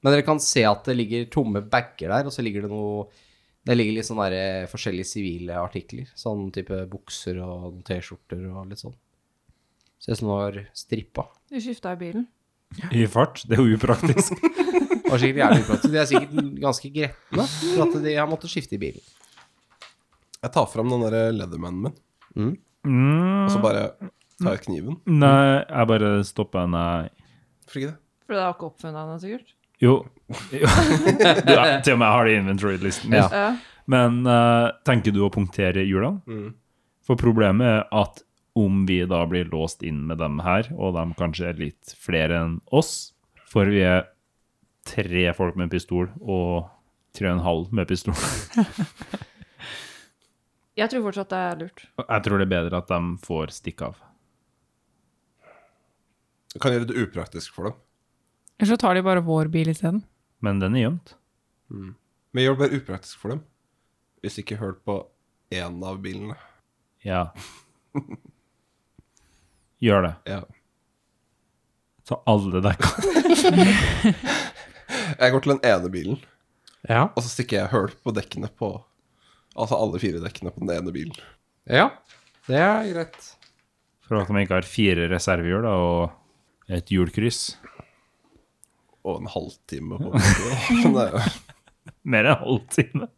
[SPEAKER 2] Men dere kan se at det ligger tomme bager der, og så ligger det noe Det ligger litt sånn derre forskjellige sivile artikler. Sånn type bukser og noen T-skjorter og litt sånn. Ser ut som noe har strippa.
[SPEAKER 5] Du skifta i bilen.
[SPEAKER 3] I fart? Det er jo upraktisk.
[SPEAKER 2] Det var sikkert jævlig upraktisk. De er sikkert ganske gretne for at de har måttet skifte i bilen.
[SPEAKER 4] Jeg tar fram den der leathermanen min,
[SPEAKER 3] Mm.
[SPEAKER 4] og så bare tar jeg kniven.
[SPEAKER 3] Nei, jeg bare stopper. Nei.
[SPEAKER 4] Hvorfor ikke det?
[SPEAKER 5] For det har ikke oppfunnet henne, sikkert.
[SPEAKER 3] Jo. jo. Du, jeg- til og med jeg har det i inventory-listen. min.
[SPEAKER 2] Ja.
[SPEAKER 5] Ja.
[SPEAKER 3] Men eh, tenker du å punktere hjulene? For problemet er at om vi da blir låst inn med dem her, og de kanskje er litt flere enn oss, for vi er tre folk med pistol og tre og en halv med pistol.
[SPEAKER 5] Jeg tror fortsatt det er lurt.
[SPEAKER 3] Jeg tror det er bedre at de får stikke av.
[SPEAKER 4] Jeg kan gjøre det upraktisk for dem.
[SPEAKER 6] Eller så tar de bare vår bil isteden.
[SPEAKER 3] Men den er gjemt.
[SPEAKER 4] Men jeg gjør det bare upraktisk for dem. Hvis ikke hørt på én av bilene.
[SPEAKER 3] Ja. Gjør det.
[SPEAKER 4] Ja.
[SPEAKER 3] Så alle der kan
[SPEAKER 4] Jeg går til den ene bilen,
[SPEAKER 2] Ja.
[SPEAKER 4] og så stikker jeg hull på dekkene på Altså alle fire dekkene på den ene bilen.
[SPEAKER 2] ja. Det er greit.
[SPEAKER 3] For at de ikke har fire reservehjul da, og et hjulkryss.
[SPEAKER 4] Og en halvtime på Men eh, det er jo-
[SPEAKER 3] Mer enn en halvtime.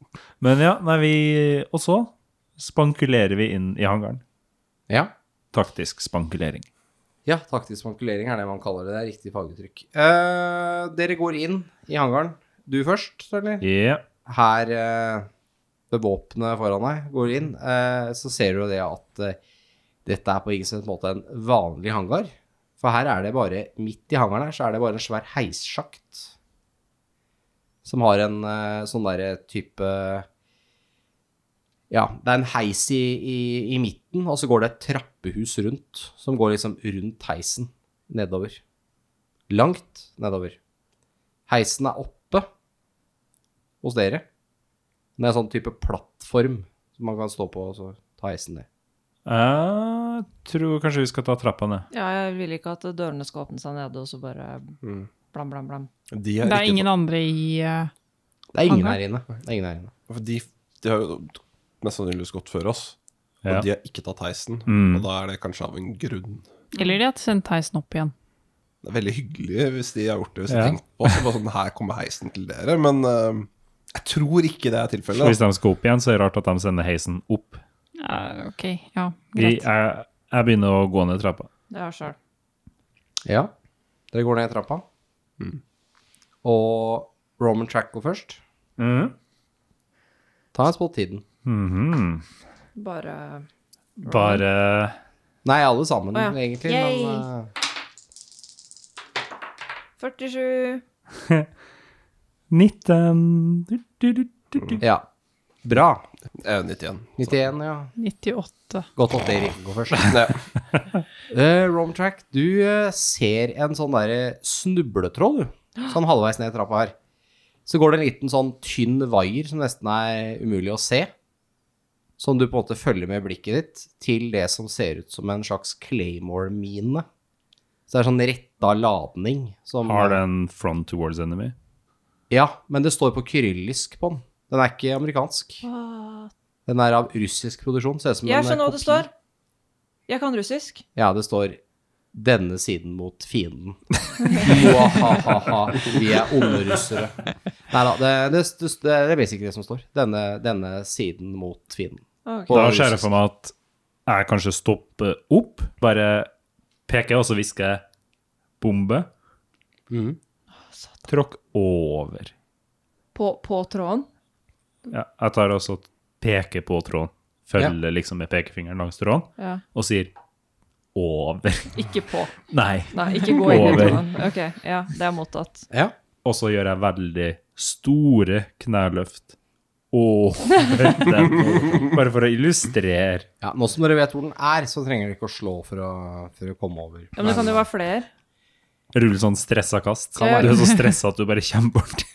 [SPEAKER 3] Men ja, nei, vi Og så spankulerer vi inn i hangaren.
[SPEAKER 2] Ja.
[SPEAKER 3] Taktisk spankulering.
[SPEAKER 2] Ja, taktisk mankulering er det man kaller det. Det er riktig faguttrykk. Eh, dere går inn i hangaren. Du først, eller?
[SPEAKER 3] Ja.
[SPEAKER 2] Her eh, bevåpnet foran deg går inn. eh, så ser du jo det at eh, dette er på ingen slags måte en vanlig hangar. For her er det bare, midt i hangaren her, så er det bare en svær heissjakt. Som har en eh, sånn derre type ja, det er en heis i, i, i midten, og så går det et trappehus rundt, som går liksom rundt heisen, nedover. Langt nedover. Heisen er oppe hos dere. Det er en sånn type plattform som man kan stå på og så ta heisen ned.
[SPEAKER 3] Jeg tror kanskje vi skal ta trappa ned.
[SPEAKER 5] Ja, jeg vil ikke at dørene skal åpne seg nede, og så bare
[SPEAKER 2] Mm.
[SPEAKER 5] blam, blam, blam.
[SPEAKER 4] De
[SPEAKER 6] Det er
[SPEAKER 4] ikke-
[SPEAKER 6] ingen andre i eh,
[SPEAKER 2] Det er ingen
[SPEAKER 6] Hangar?
[SPEAKER 2] her inne. Det er ingen her inne.
[SPEAKER 4] For de, de har jo mest sannsynligvis gått før oss. Og
[SPEAKER 3] Ja.
[SPEAKER 4] de har ikke tatt heisen.
[SPEAKER 3] Mm.
[SPEAKER 4] Og da er det kanskje av en grunn.
[SPEAKER 6] Eller de har sendt heisen opp igjen.
[SPEAKER 4] Det er veldig hyggelig hvis de har gjort det. Hvis
[SPEAKER 3] Ja.
[SPEAKER 4] de tenkte på så bare sånn, Her kommer heisen til dere. Men eh, jeg tror ikke det er
[SPEAKER 3] Og hvis
[SPEAKER 4] tilfellet. da.
[SPEAKER 3] de skal opp igjen, så er det rart at de sender heisen opp.
[SPEAKER 6] Ja, ok, ja,
[SPEAKER 3] Vi,
[SPEAKER 6] greit.
[SPEAKER 3] jeg, jeg begynner å gå ned trappa.
[SPEAKER 5] Det er sjøl.
[SPEAKER 2] Ja. Dere går ned trappa.
[SPEAKER 5] Mm.
[SPEAKER 2] Og Roman Track går først.
[SPEAKER 5] Mm-hmm.
[SPEAKER 2] Ta en spot tiden.
[SPEAKER 3] Mhm.
[SPEAKER 5] Bare
[SPEAKER 3] Bare
[SPEAKER 2] Nei, alle sammen,
[SPEAKER 5] Å ja.
[SPEAKER 2] egentlig.
[SPEAKER 5] Yay.
[SPEAKER 2] Men eh,
[SPEAKER 5] 47
[SPEAKER 3] 19 du, du, du, du, du.
[SPEAKER 2] Ja. Bra.
[SPEAKER 4] Jeg er 91.
[SPEAKER 2] 91, ja.
[SPEAKER 6] 98.
[SPEAKER 2] Godt at dere ikke går først.
[SPEAKER 4] Nei,
[SPEAKER 2] Uh, Romtrack, du eh, ser en sånn derre snubletråd, du. Sånn halvveis ned trappa her. Så går det en liten sånn tynn vaier som nesten er umulig å se. Som du på en måte følger med blikket ditt til det som ser ut som en slags Claymore-mine. Så det er sånn retta ladning som
[SPEAKER 3] Har den front towards enemy?
[SPEAKER 2] Ja, men det står på kyrillisk på den. Den er ikke amerikansk.
[SPEAKER 5] Ah,
[SPEAKER 2] Den er av russisk produksjon. Ser ut som
[SPEAKER 5] Jeg
[SPEAKER 2] en
[SPEAKER 5] skjønner hva det
[SPEAKER 2] kopi.
[SPEAKER 5] står. Jeg kan russisk.
[SPEAKER 2] Ja, det står 'denne siden mot fienden'. Muahahaha, vi er onde russere. Nei da, det, det, det, det er basically det som står. Denne, denne siden mot fienden.
[SPEAKER 5] Ok.
[SPEAKER 2] På
[SPEAKER 3] Da skjer det
[SPEAKER 2] russisk.
[SPEAKER 3] for meg at jeg kanskje stopper opp, bare peker og så hvisker jeg, bombe.
[SPEAKER 2] Mhm.
[SPEAKER 3] Tråkk over.
[SPEAKER 5] På, på tråden.
[SPEAKER 3] Ja, jeg tar også og peker på tråden. Følger liksom med pekefingeren langs tråden
[SPEAKER 5] Ja.
[SPEAKER 3] og sier over.
[SPEAKER 5] Ikke på.
[SPEAKER 3] Nei.
[SPEAKER 5] Nei, ikke gå inn i
[SPEAKER 3] Over.
[SPEAKER 5] tråden. Ok, ja, det er mottatt.
[SPEAKER 2] Ja.
[SPEAKER 3] Og så gjør jeg veldig store knæløft over den, bare for å illustrere.
[SPEAKER 2] ja. Nå som dere vet hvor den er, så trenger dere ikke å slå for å, for å komme over.
[SPEAKER 5] Ja, men det kan jo være flere.
[SPEAKER 3] Rull sånn stressa kast. Du
[SPEAKER 5] Kan være.
[SPEAKER 3] er så stressa at du bare kommer borti.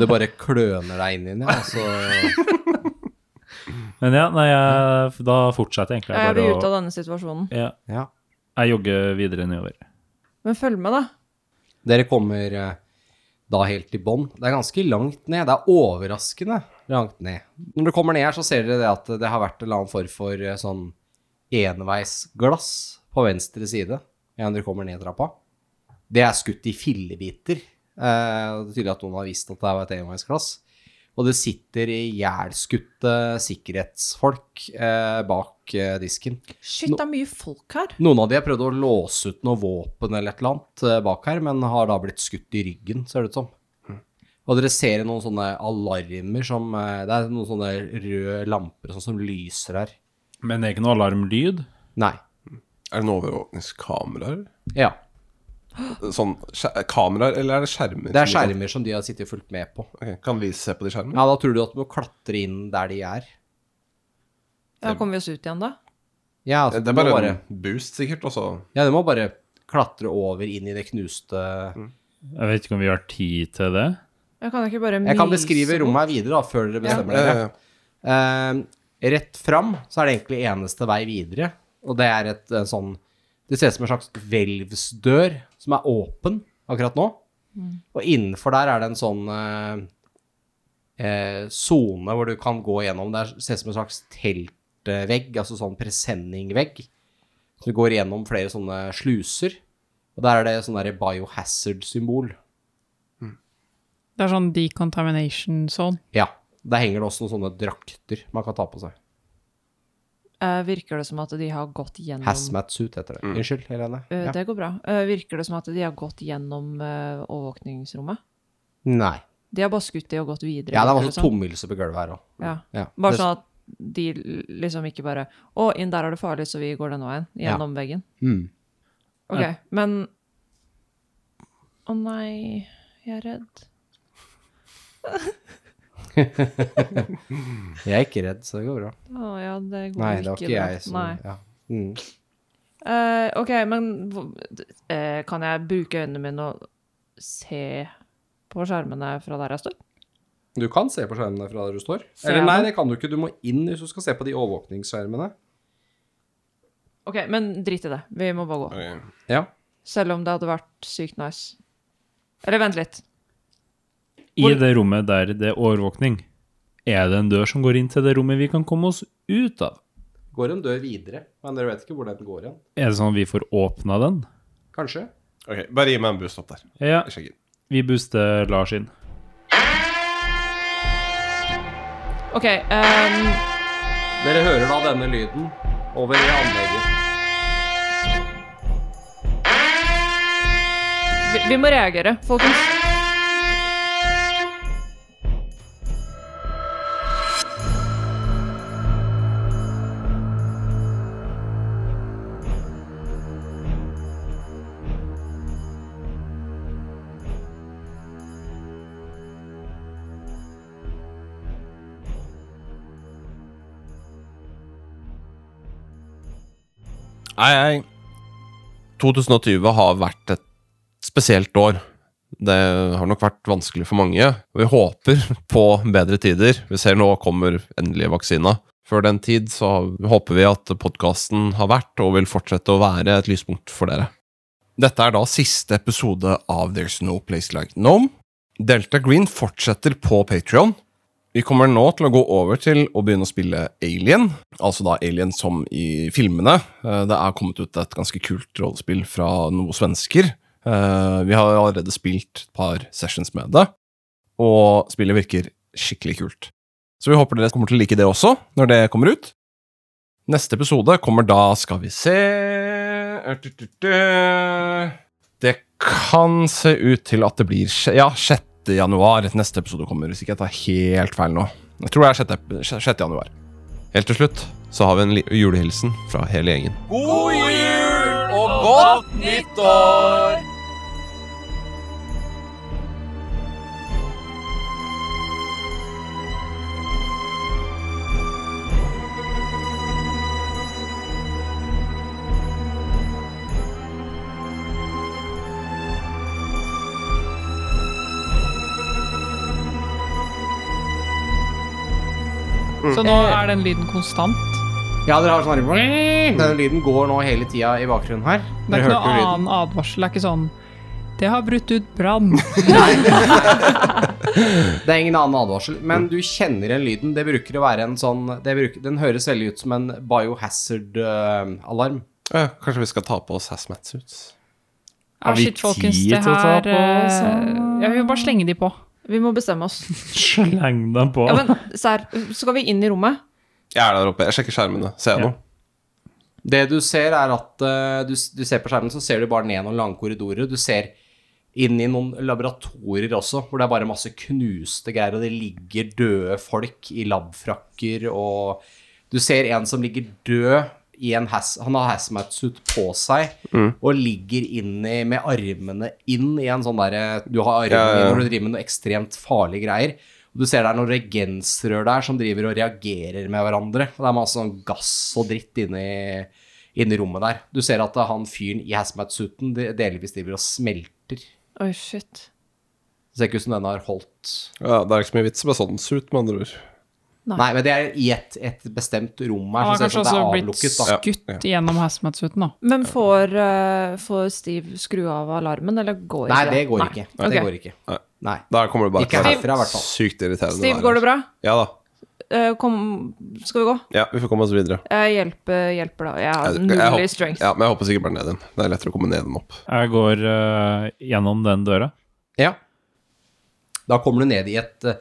[SPEAKER 2] Du bare kløner deg inn i den, ja. og Så,
[SPEAKER 3] Men ja, nei, jeg, da fortsetter jeg egentlig
[SPEAKER 5] Jeg
[SPEAKER 3] bare
[SPEAKER 5] vil
[SPEAKER 3] å-
[SPEAKER 5] ut av denne situasjonen.
[SPEAKER 3] Ja,
[SPEAKER 2] ja.
[SPEAKER 3] jeg jogger videre nedover.
[SPEAKER 5] Men følg med, da.
[SPEAKER 2] Dere kommer eh, da helt i bånn. Det er ganske langt ned. Det er overraskende langt ned. Når du kommer ned her, så ser dere det at det har vært en eller annen form for eh, sånn enveisglass på venstre side ja, når du kommer ned trappa. Det er skutt i fillebiter. Eh, og det er tydelig at noen har visst at det var et enveisglass. Og det sitter ihjelskutte sikkerhetsfolk eh, bak eh, disken.
[SPEAKER 5] Shit, det er mye folk her.
[SPEAKER 2] Noen av de har prøvd å låse ut noe våpen eller et eller annet eh, bak her, men har da blitt skutt i ryggen, ser det ut som. Og dere ser noen sånne alarmer som eh, Det er noen sånne røde lamper og sånn som lyser her.
[SPEAKER 3] Men det er ikke noe alarmlyd?
[SPEAKER 2] Nei.
[SPEAKER 4] Er det noe overvåkningskameraer?
[SPEAKER 2] Ja.
[SPEAKER 4] Sånn, skje- kameraer, eller er det skjermer?
[SPEAKER 2] Det er
[SPEAKER 4] som-
[SPEAKER 2] skjermer som de har sittet og fulgt med på.
[SPEAKER 4] Ok, Kan vi se på de skjermene?
[SPEAKER 2] Ja, da tror du at du må klatre inn der de er.
[SPEAKER 5] Ja, kommer vi oss ut igjen, da?
[SPEAKER 2] Ja, altså,
[SPEAKER 4] Det er bare,
[SPEAKER 2] du må bare,
[SPEAKER 4] en boost, sikkert. Og så
[SPEAKER 2] ja, du må bare klatre over inn i det knuste
[SPEAKER 4] Mm.
[SPEAKER 3] Jeg vet ikke om vi har tid til det.
[SPEAKER 5] Jeg kan ikke bare
[SPEAKER 2] Jeg kan
[SPEAKER 5] myse
[SPEAKER 2] beskrive
[SPEAKER 5] bort?
[SPEAKER 2] rommet her videre, da, før dere bestemmer dere.
[SPEAKER 4] eh,
[SPEAKER 2] Eh, rett fram så er det egentlig eneste vei videre, og det er et eh, sånn Det ser ut som en slags hvelvsdør som er åpen akkurat nå. Og innenfor der er det en sånn eh, eh, sone hvor du kan gå gjennom. Det er- ser ut som en slags teltvegg, altså sånn presenningvegg. Så du går gjennom flere sånne sluser, og der er det sånn derre biohazard-symbol.
[SPEAKER 6] Det er sånn decontamination zone.
[SPEAKER 2] Ja. Der henger det også noen sånne drakter man kan ta på seg.
[SPEAKER 5] Eh, virker det som at de har gått gjennom
[SPEAKER 2] Hazmat-suit heter det. Unnskyld, Helene.
[SPEAKER 5] Eh,
[SPEAKER 2] Ja.
[SPEAKER 5] Det går bra. Eh, virker det som at de har gått gjennom eh, overvåkningsrommet?
[SPEAKER 2] Nei.
[SPEAKER 5] De har bare skutt det og gått videre.
[SPEAKER 2] Ja, det er
[SPEAKER 5] virker
[SPEAKER 2] masse tommelser på gulvet her òg.
[SPEAKER 5] som. Ja.
[SPEAKER 2] Ja.
[SPEAKER 5] Bare
[SPEAKER 2] Det-
[SPEAKER 5] sånn at de liksom ikke bare Å, inn der er det farlig, så vi går denne veien. Gjennom veggen.
[SPEAKER 2] Mm.
[SPEAKER 5] OK, men Å nei, jeg er redd.
[SPEAKER 2] Jeg er ikke redd, så det går bra.
[SPEAKER 5] Å ja, det går
[SPEAKER 2] Nei,
[SPEAKER 5] ikke
[SPEAKER 2] det var ikke
[SPEAKER 5] bra.
[SPEAKER 2] jeg som
[SPEAKER 5] Nei.
[SPEAKER 2] ja. mm.
[SPEAKER 5] Eh, OK, men hvor- d- eh, kan jeg bruke øynene mine og se på skjermene fra der jeg står?
[SPEAKER 2] Du kan se på skjermene fra der du står.
[SPEAKER 5] Ser
[SPEAKER 2] Eller
[SPEAKER 5] jeg
[SPEAKER 2] nei,
[SPEAKER 5] dem?
[SPEAKER 2] det kan du ikke. Du må inn hvis du skal se på de overvåkningsskjermene.
[SPEAKER 5] OK, men drit i det. Vi må bare gå.
[SPEAKER 4] ok.
[SPEAKER 2] Ja.
[SPEAKER 5] Selv om det hadde vært sykt nice. Eller vent litt.
[SPEAKER 3] I
[SPEAKER 5] Hvor-
[SPEAKER 3] det rommet der det er overvåkning, er det en dør som går inn til det rommet vi kan komme oss ut av?
[SPEAKER 2] Går en dør videre, men dere vet ikke hvor den går igjen.
[SPEAKER 3] Er det sånn at vi får åpna den?
[SPEAKER 2] Kanskje.
[SPEAKER 4] ok, Bare gi meg en boost opp der.
[SPEAKER 3] Ja,
[SPEAKER 4] Jeg sjekker.
[SPEAKER 3] vi booster Lars inn.
[SPEAKER 5] OK. ehm,
[SPEAKER 2] Dere hører da denne lyden over i anlegget.
[SPEAKER 5] vi, vi må reagere, folkens.
[SPEAKER 4] Nei, nei. 2020 har vært et spesielt år. Det har nok vært vanskelig for mange. og Vi håper på bedre tider. Vi ser nå kommer endelig vaksina. Før den tid så håper vi at podkasten har vært og vil fortsette å være et lyspunkt for dere. Dette er da siste episode av There's No Place Like Nome. Delta Green fortsetter på Patrion. Vi kommer nå til å gå over til å begynne å spille Alien, altså da Alien som i filmene. Eh, Det er kommet ut et ganske kult rollespill fra noen svensker. Eh, Vi har allerede spilt et par sessions med det, og spillet virker skikkelig kult. Så vi håper dere kommer til å like det også, når det kommer ut. Neste episode kommer da Skal vi se Eh, Det kan se ut til at det blir sj- Ja, 6. januar neste episode kommer, hvis ikke jeg tar helt feil nå. Jeg tror det er 6. ep- sj- 6. januar. Helt til slutt så har vi en li- julehilsen fra hele gjengen. God jul og godt nytt år!
[SPEAKER 6] Så nå er den lyden konstant.
[SPEAKER 2] Ja, dere har sånn her- Denne lyden går nå hele tida i bakgrunnen her.
[SPEAKER 6] Det er
[SPEAKER 2] Dere
[SPEAKER 6] ikke noe
[SPEAKER 2] hørte jo lyden.
[SPEAKER 6] annen advarsel. Det er ikke sånn Det har brutt ut brann.
[SPEAKER 2] Det er ingen annen advarsel, men du kjenner igjen lyden. Det bruker å være en sånn det bruker, Den høres veldig ut som en eh, biohazard-alarm.
[SPEAKER 4] Ja, kanskje vi skal ta på oss hazmat-suits?
[SPEAKER 3] Har
[SPEAKER 6] Ah,
[SPEAKER 3] vi
[SPEAKER 6] shit, folkens,
[SPEAKER 3] tid
[SPEAKER 6] det
[SPEAKER 3] til å ta
[SPEAKER 6] her
[SPEAKER 3] på oss,
[SPEAKER 6] eh, Ja, vi må bare slenge de på.
[SPEAKER 5] Vi må bestemme oss.
[SPEAKER 3] Sleng dem på.
[SPEAKER 5] Ja, men Sær, skal vi inn i rommet?
[SPEAKER 4] Jeg er der oppe. Jeg sjekker skjermene. Ser jeg
[SPEAKER 3] Ja.
[SPEAKER 4] noe?
[SPEAKER 2] Det du ser, er at eh, du, du ser på skjermen, så ser du bare ned noen lange korridorer. Du ser inn i noen laboratorier også, hvor det er bare masse knuste greier, og det ligger døde folk i labfrakker, og du ser en som ligger død i en has, han har hazmat-suit på seg,
[SPEAKER 4] Mm.
[SPEAKER 2] og ligger inni med armene inn i en sånn derre Du har armene
[SPEAKER 4] Ja, ja, ja.
[SPEAKER 2] inn når du driver med noe ekstremt farlige greier. Og du ser det er noen reagensrør der som driver og reagerer med hverandre. Og det er masse sånn gass og dritt inni inni rommet der. Du ser at han fyren i hazmat-suiten de- delvis driver og smelter.
[SPEAKER 5] Oi, shit.
[SPEAKER 2] Det ser ikke ut som den har holdt
[SPEAKER 4] Ja, det er ikke så mye vits med sånn suit, med andre ord.
[SPEAKER 5] Nei.
[SPEAKER 2] Nei, men det er i et, et bestemt rom her,
[SPEAKER 6] Han
[SPEAKER 2] så det
[SPEAKER 6] har
[SPEAKER 2] ser
[SPEAKER 6] kanskje
[SPEAKER 2] ut som det
[SPEAKER 6] også
[SPEAKER 2] er
[SPEAKER 6] blitt
[SPEAKER 2] avlukket. Da.
[SPEAKER 4] Ja,
[SPEAKER 6] skutt gjennom hazmat-suiten, da.
[SPEAKER 5] Men får, eh, får Steve skru av alarmen, eller går
[SPEAKER 2] Nei,
[SPEAKER 5] ikke
[SPEAKER 2] det går
[SPEAKER 5] Nei.
[SPEAKER 2] ikke.
[SPEAKER 5] Ok.
[SPEAKER 2] Det går ikke.
[SPEAKER 4] Nei.
[SPEAKER 2] Nei.
[SPEAKER 4] Da kommer det bare
[SPEAKER 2] Ikke
[SPEAKER 4] til å
[SPEAKER 2] herfra, i
[SPEAKER 4] være
[SPEAKER 2] hvert fall.
[SPEAKER 4] sykt irriterende.
[SPEAKER 5] Steve,
[SPEAKER 4] der.
[SPEAKER 5] går det bra?
[SPEAKER 4] Ja da.
[SPEAKER 5] Eh, kom, skal vi gå?
[SPEAKER 4] Ja, vi får komme oss videre.
[SPEAKER 5] Jeg hjelper, hjelper da. Jeg har
[SPEAKER 4] Jeg- jeg
[SPEAKER 5] null i
[SPEAKER 4] håper-
[SPEAKER 5] strength.
[SPEAKER 4] Ja, men jeg håper sikkert bare ned igjen. Det er lettere å komme ned enn opp.
[SPEAKER 3] Jeg går eh, gjennom den døra.
[SPEAKER 2] Ja. Da kommer du ned i et eh,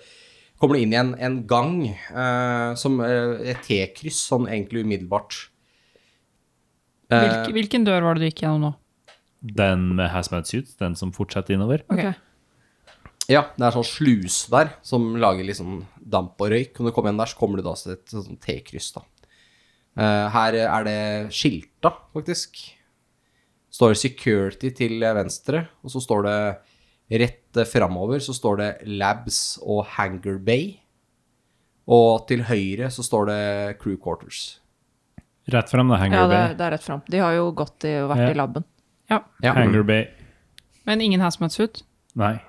[SPEAKER 2] Kommer du inn i en, en gang eh, som eh, et T-kryss, sånn egentlig umiddelbart.
[SPEAKER 6] Hvilken, hvilken dør var det du gikk gjennom nå?
[SPEAKER 3] Den med hazmat suit, den som fortsetter innover.
[SPEAKER 6] Ok.
[SPEAKER 2] Ja, det er sånn sluse der som lager litt sånn damp og røyk. Når du kommer inn der, så kommer du da til et sånn T-kryss, da. Eh, her er det skilta, faktisk. Står 'security' til venstre, og så står det rett framover så står det 'labs' og 'hangar bay'. Og til høyre så står det 'crew quarters'.
[SPEAKER 3] Rett fram, da. Hangar
[SPEAKER 5] Ja, det,
[SPEAKER 3] Bay.
[SPEAKER 5] det er rett fram. De har jo gått i, vært
[SPEAKER 3] Ja.
[SPEAKER 5] i laben.
[SPEAKER 6] Ja.
[SPEAKER 2] Ja.
[SPEAKER 3] Hangar Bay.
[SPEAKER 6] Men ingen hazmat-suit?
[SPEAKER 3] Nei.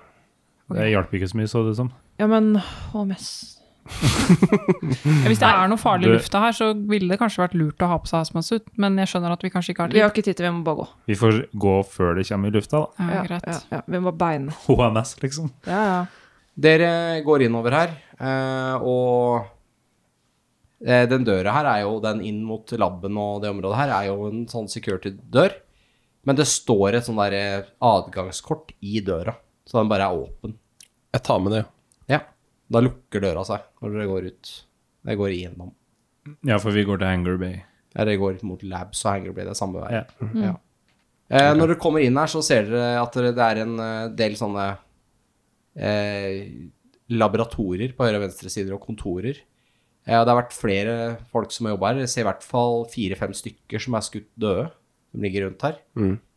[SPEAKER 3] Det hjalp ikke så mye, så det ut som.
[SPEAKER 5] Ja, men HMS
[SPEAKER 6] Ja, hvis det er noe farlig i
[SPEAKER 3] Du-
[SPEAKER 6] lufta her, så ville det kanskje vært lurt å ha på seg hazmat-suit, men jeg skjønner at vi kanskje ikke har
[SPEAKER 5] Vi
[SPEAKER 6] tid.
[SPEAKER 5] har ikke tid til, vi må bare gå.
[SPEAKER 3] Vi får gå før det kommer i lufta, da.
[SPEAKER 5] Ja,
[SPEAKER 6] Ja, greit.
[SPEAKER 5] ja, ja. Vi må bare beine.
[SPEAKER 3] HMS, liksom.
[SPEAKER 5] Ja, ja.
[SPEAKER 2] Dere går innover her, eh, og eh, den døra her er jo den inn mot labben og det området her er jo en sånn security-dør. Men det står et sånn der eh, adgangskort i døra, så den bare er åpen.
[SPEAKER 4] Jeg tar med det, ja.
[SPEAKER 2] Ja, da lukker døra seg når dere går ut. Dere går igjennom.
[SPEAKER 3] Ja, for vi går til Hangar Bay.
[SPEAKER 2] Ja, Dere går ut mot labs og hangar blir det samme vei.
[SPEAKER 3] Ja.
[SPEAKER 2] Ja. Eh, når dere kommer inn her, så ser dere at dere- det er en eh, del sånne eh, laboratorier på høyre og venstre sider og kontorer. Eh, og det har vært flere folk som har jobba her. Jeg ser i hvert fall fire-fem stykker som er skutt døde, som ligger rundt her,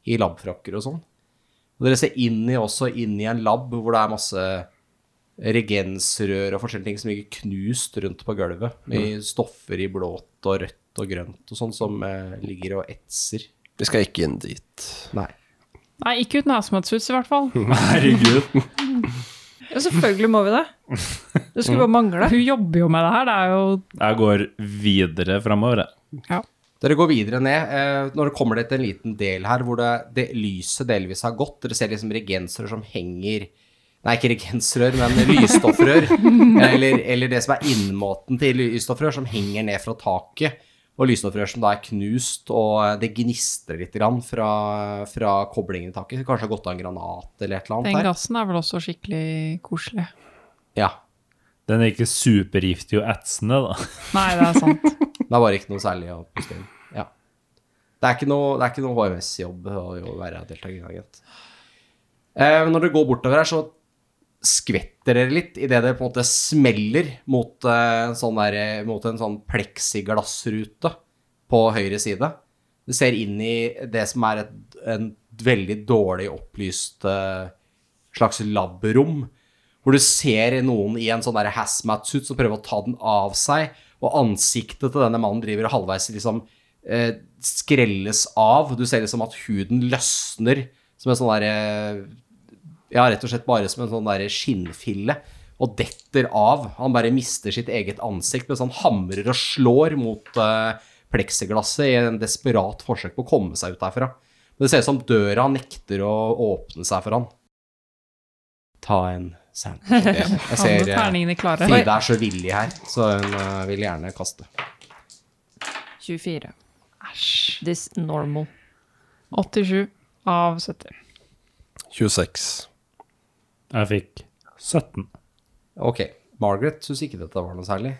[SPEAKER 2] i labfrakker og sånn. Og dere ser inn i, også inn i en lab hvor det er masse regensrør og forskjellige ting som ligger knust rundt på gulvet. I stoffer i blått og rødt og grønt og sånn som eh, ligger og etser.
[SPEAKER 4] Vi skal ikke inn dit.
[SPEAKER 2] Nei.
[SPEAKER 6] Nei, ikke uten hazmat-suits i hvert fall.
[SPEAKER 3] Herregud.
[SPEAKER 5] ja, selvfølgelig må vi det. Det skulle bare mangle.
[SPEAKER 6] Hun jobber jo med det her, det er jo
[SPEAKER 3] Jeg går videre framover, jeg.
[SPEAKER 2] Dere går videre ned. Eh, når det kommer det til en liten del her hvor det, det lyset delvis har gått, dere ser liksom regensrør som henger Nei, ikke regensrør, men lysstoffrør. eller, eller det som er innmåten til lysstoffrør, som henger ned fra taket. Og lysstoffrør som da er knust, og eh, det gnistrer litt grann fra, fra koblingen i taket. Kanskje det har gått av en granat eller et eller
[SPEAKER 6] Den
[SPEAKER 2] annet her.
[SPEAKER 6] gassen er vel også skikkelig koselig.
[SPEAKER 2] Ja,
[SPEAKER 3] Den er ikke supergiftig og etsende, da.
[SPEAKER 6] Nei, det er sant.
[SPEAKER 2] Det er bare ikke noe særlig å puste inn. Ja. Det er ikke noe, det er ikke noe HMS-jobb å å være deltakeragent. Eh, når dere går bortover her, så skvetter dere litt idet dere på en måte smeller mot, eh, en sånn der, eh, mot en sånn pleksiglassrute på høyre side. Du ser inn i det som er et, en veldig dårlig opplyst eh, slags labrom, hvor du ser noen i en sånn der hazmat-suit som prøver å ta den av seg, og ansiktet til denne mannen driver halvveis liksom eh, skrelles av. Du ser liksom at huden løsner som en sånn der eh, ja, rett og slett bare som en sånn der skinnfille, og detter av. Han bare mister sitt eget ansikt mens han hamrer og slår mot eh, pleksiglasset i en desperat forsøk på å komme seg ut derfra. Det ser ut som døra nekter å åpne seg for han. Ta en sandwich. Jeg
[SPEAKER 6] Alle
[SPEAKER 2] ser eh,
[SPEAKER 6] terningene klare.
[SPEAKER 2] Frida er så villig her, så hun eh, vil gjerne kaste.
[SPEAKER 5] 24.
[SPEAKER 6] Æsj.
[SPEAKER 5] This normal.
[SPEAKER 6] 87 av 70.
[SPEAKER 4] 26.
[SPEAKER 3] Jeg fikk 17.
[SPEAKER 2] Ok, Margaret syns ikke dette var noe særlig.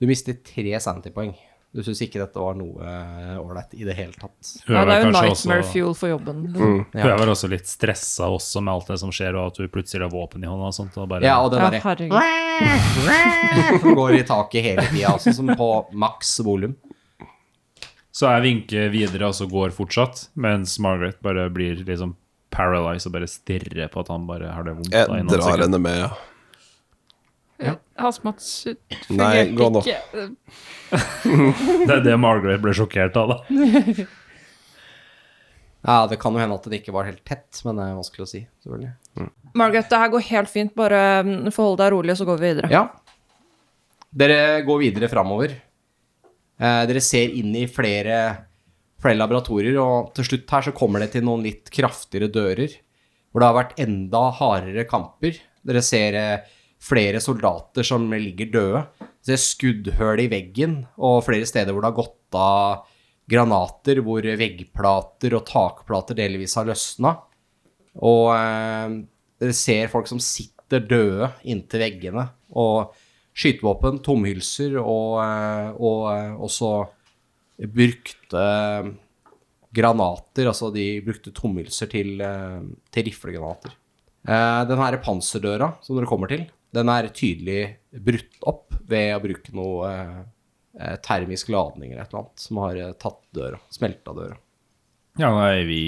[SPEAKER 2] Du mistet tre sanity-poeng. Du syns ikke dette var noe eh, ålreit i det hele tatt.
[SPEAKER 5] Ja, det er jo
[SPEAKER 3] kanskje
[SPEAKER 5] nightmare
[SPEAKER 3] også-
[SPEAKER 5] fuel for jobben.
[SPEAKER 3] Hun er vel også litt stressa også med alt det som skjer, og at hun plutselig har våpen i hånda. og sånt, og bare,
[SPEAKER 2] Ja, og det
[SPEAKER 5] Ja,
[SPEAKER 2] derre
[SPEAKER 5] herregud.
[SPEAKER 2] går i taket hele tida, altså som på maks volum.
[SPEAKER 3] Så jeg vinker videre, og så går fortsatt, mens Margaret bare blir liksom paralyzed og bare stirrer på at han bare har det vondt. da, i
[SPEAKER 4] Jeg
[SPEAKER 3] noen
[SPEAKER 4] drar
[SPEAKER 3] sekunder.
[SPEAKER 4] henne med, ja.
[SPEAKER 6] Hasmat
[SPEAKER 4] Nei, gå nå.
[SPEAKER 6] ikke.
[SPEAKER 3] Det er det Margaret ble sjokkert av, da.
[SPEAKER 2] Ja, Det kan jo hende at det ikke var helt tett, men det er vanskelig å si. selvfølgelig.
[SPEAKER 5] Margaret, det her går helt fint. Bare mm, forhold deg rolig, og så går vi videre.
[SPEAKER 2] Ja. Dere går videre framover. Eh, dere ser inn i flere, flere laboratorier, og til slutt her så kommer det til noen litt kraftigere dører, hvor det har vært enda hardere kamper. Dere ser eh, flere soldater som ligger døde. Dere ser skuddhull i veggen, og flere steder hvor det har gått av granater, hvor veggplater og takplater delvis har løsna. Og eh, dere ser folk som sitter døde inntil veggene. Og skytevåpen, tomhylser og, eh, og eh, også brukte granater. Altså de brukte tomhylser til, eh, til riflegranater. Eh, den her panserdøra som dere kommer til, den er tydelig brutt opp ved å bruke noe eh, eh, termisk ladning eller et eller annet som har eh, tatt døra, smelta døra.
[SPEAKER 3] Ja, nei, vi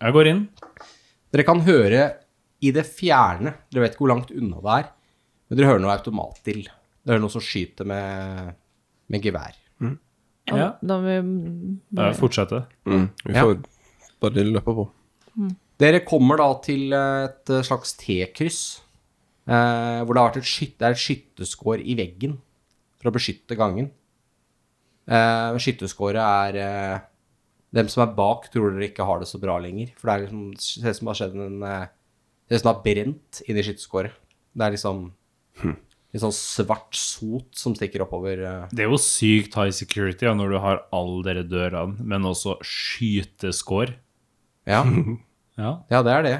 [SPEAKER 3] Jeg går inn.
[SPEAKER 2] Dere kan høre i det fjerne, dere vet ikke hvor langt unna det er, men dere hører noe automatdill. Dere hører noe som skyter med, med gevær.
[SPEAKER 3] Ja.
[SPEAKER 5] Da må vi
[SPEAKER 3] Jeg fortsetter.
[SPEAKER 4] Mm. Vi får bare løpe på.
[SPEAKER 2] Dere kommer da til eh, et slags T-kryss, eh, hvor det har vært et, skyt, det er et skytteskår i veggen for å beskytte gangen. Eh, skytteskåret er eh, Dem som er bak, tror dere ikke har det så bra lenger. For det er liksom, det ser ut som det har skjedd en eh, Det ser ut som det har brent inn i skytteskåret. Det er liksom litt sånn svart sot som stikker oppover. Eh,
[SPEAKER 3] Det er jo sykt high security ja, når du har alle dere dørene, men også skyteskår.
[SPEAKER 2] ja.
[SPEAKER 3] Ja.
[SPEAKER 2] ja, det er det.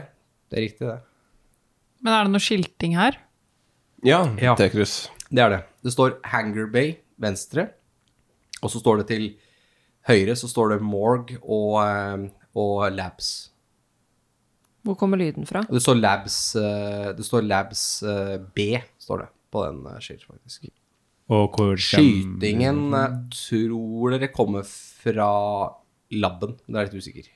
[SPEAKER 2] Det er riktig, det.
[SPEAKER 6] Men er det noe skilting her?
[SPEAKER 4] Ja,
[SPEAKER 2] Ja.
[SPEAKER 4] T-kryss.
[SPEAKER 2] Det er det. Det står Hangar Bay venstre, og så står det til høyre så står det Morgue og, eh, og Labs.
[SPEAKER 5] Hvor kommer lyden fra?
[SPEAKER 2] Og Det står Labs, eh, det står labs eh, B, står det, på den eh, skilt, faktisk.
[SPEAKER 3] Og hvor kjem-
[SPEAKER 2] Skytingen eh, tror dere kommer fra labben. Det er jeg litt usikker.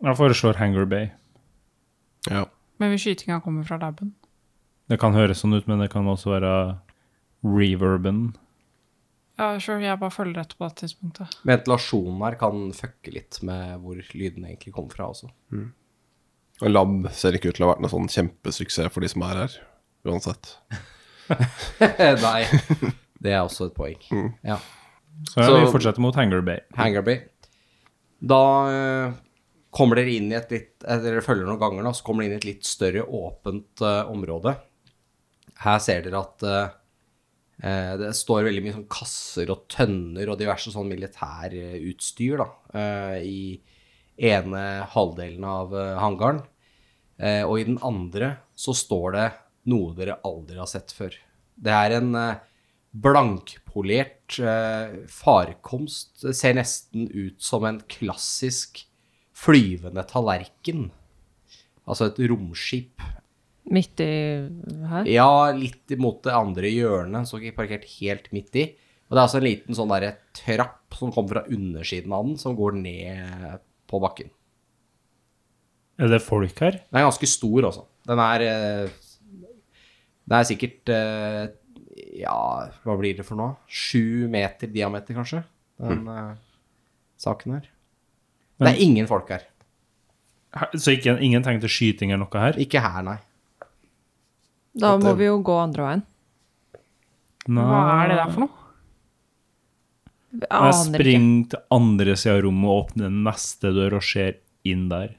[SPEAKER 3] Jeg foreslår Hangar Bay.
[SPEAKER 4] Ja.
[SPEAKER 6] Men hvis skytinga kommer fra laben?
[SPEAKER 3] Det kan høres sånn ut, men det kan også være reverben.
[SPEAKER 6] Ja, sure, jeg bare følger etter på det tidspunktet.
[SPEAKER 2] Ventilasjonen her kan fucke litt med hvor lyden egentlig kommer fra også.
[SPEAKER 4] Og lab ser ikke ut til å ha vært noen sånn kjempesuksess for de som er her, uansett.
[SPEAKER 2] Nei, det er også et poeng. Ja.
[SPEAKER 3] Så, ja,
[SPEAKER 4] Så-
[SPEAKER 3] vi fortsetter mot Hangar Bay.
[SPEAKER 2] Hangarby. Da eh, kommer dere inn i et litt eh, Dere følger noen ganger, da, så kommer dere inn i et litt større åpent eh, område. Her ser dere at eh, eh, det står veldig mye sånn kasser og tønner og diverse sånn militærutstyr da, eh, i ene halvdelen av eh, hangaren. Eh, og i den andre så står det noe dere aldri har sett før. Det er en eh, blankpolert eh, farkomst. Det ser nesten ut som en klassisk flyvende tallerken. Altså et romskip.
[SPEAKER 5] Midt i her?
[SPEAKER 2] Ja, litt imot det andre hjørnet, så ikke parkert helt midt i. Og det er altså en liten sånn derre trapp som kommer fra undersiden av den, som går ned på bakken.
[SPEAKER 3] Er det folk her?
[SPEAKER 2] Den er ganske stor, altså. Den er eh, Den er sikkert eh, Ja, hva blir det for noe? Sju meter diameter, kanskje? Den eh, saken her. Det er ingen folk her.
[SPEAKER 3] Her- Så ikke, ingen tegn til skyting eller noe her?
[SPEAKER 2] Ikke her, nei.
[SPEAKER 5] Da må vi jo gå andre veien.
[SPEAKER 6] Hva er det der for noe?
[SPEAKER 5] Jeg
[SPEAKER 3] Jeg
[SPEAKER 5] aner ikke.
[SPEAKER 3] springer til andre sida av rommet og åpner neste dør og ser inn der.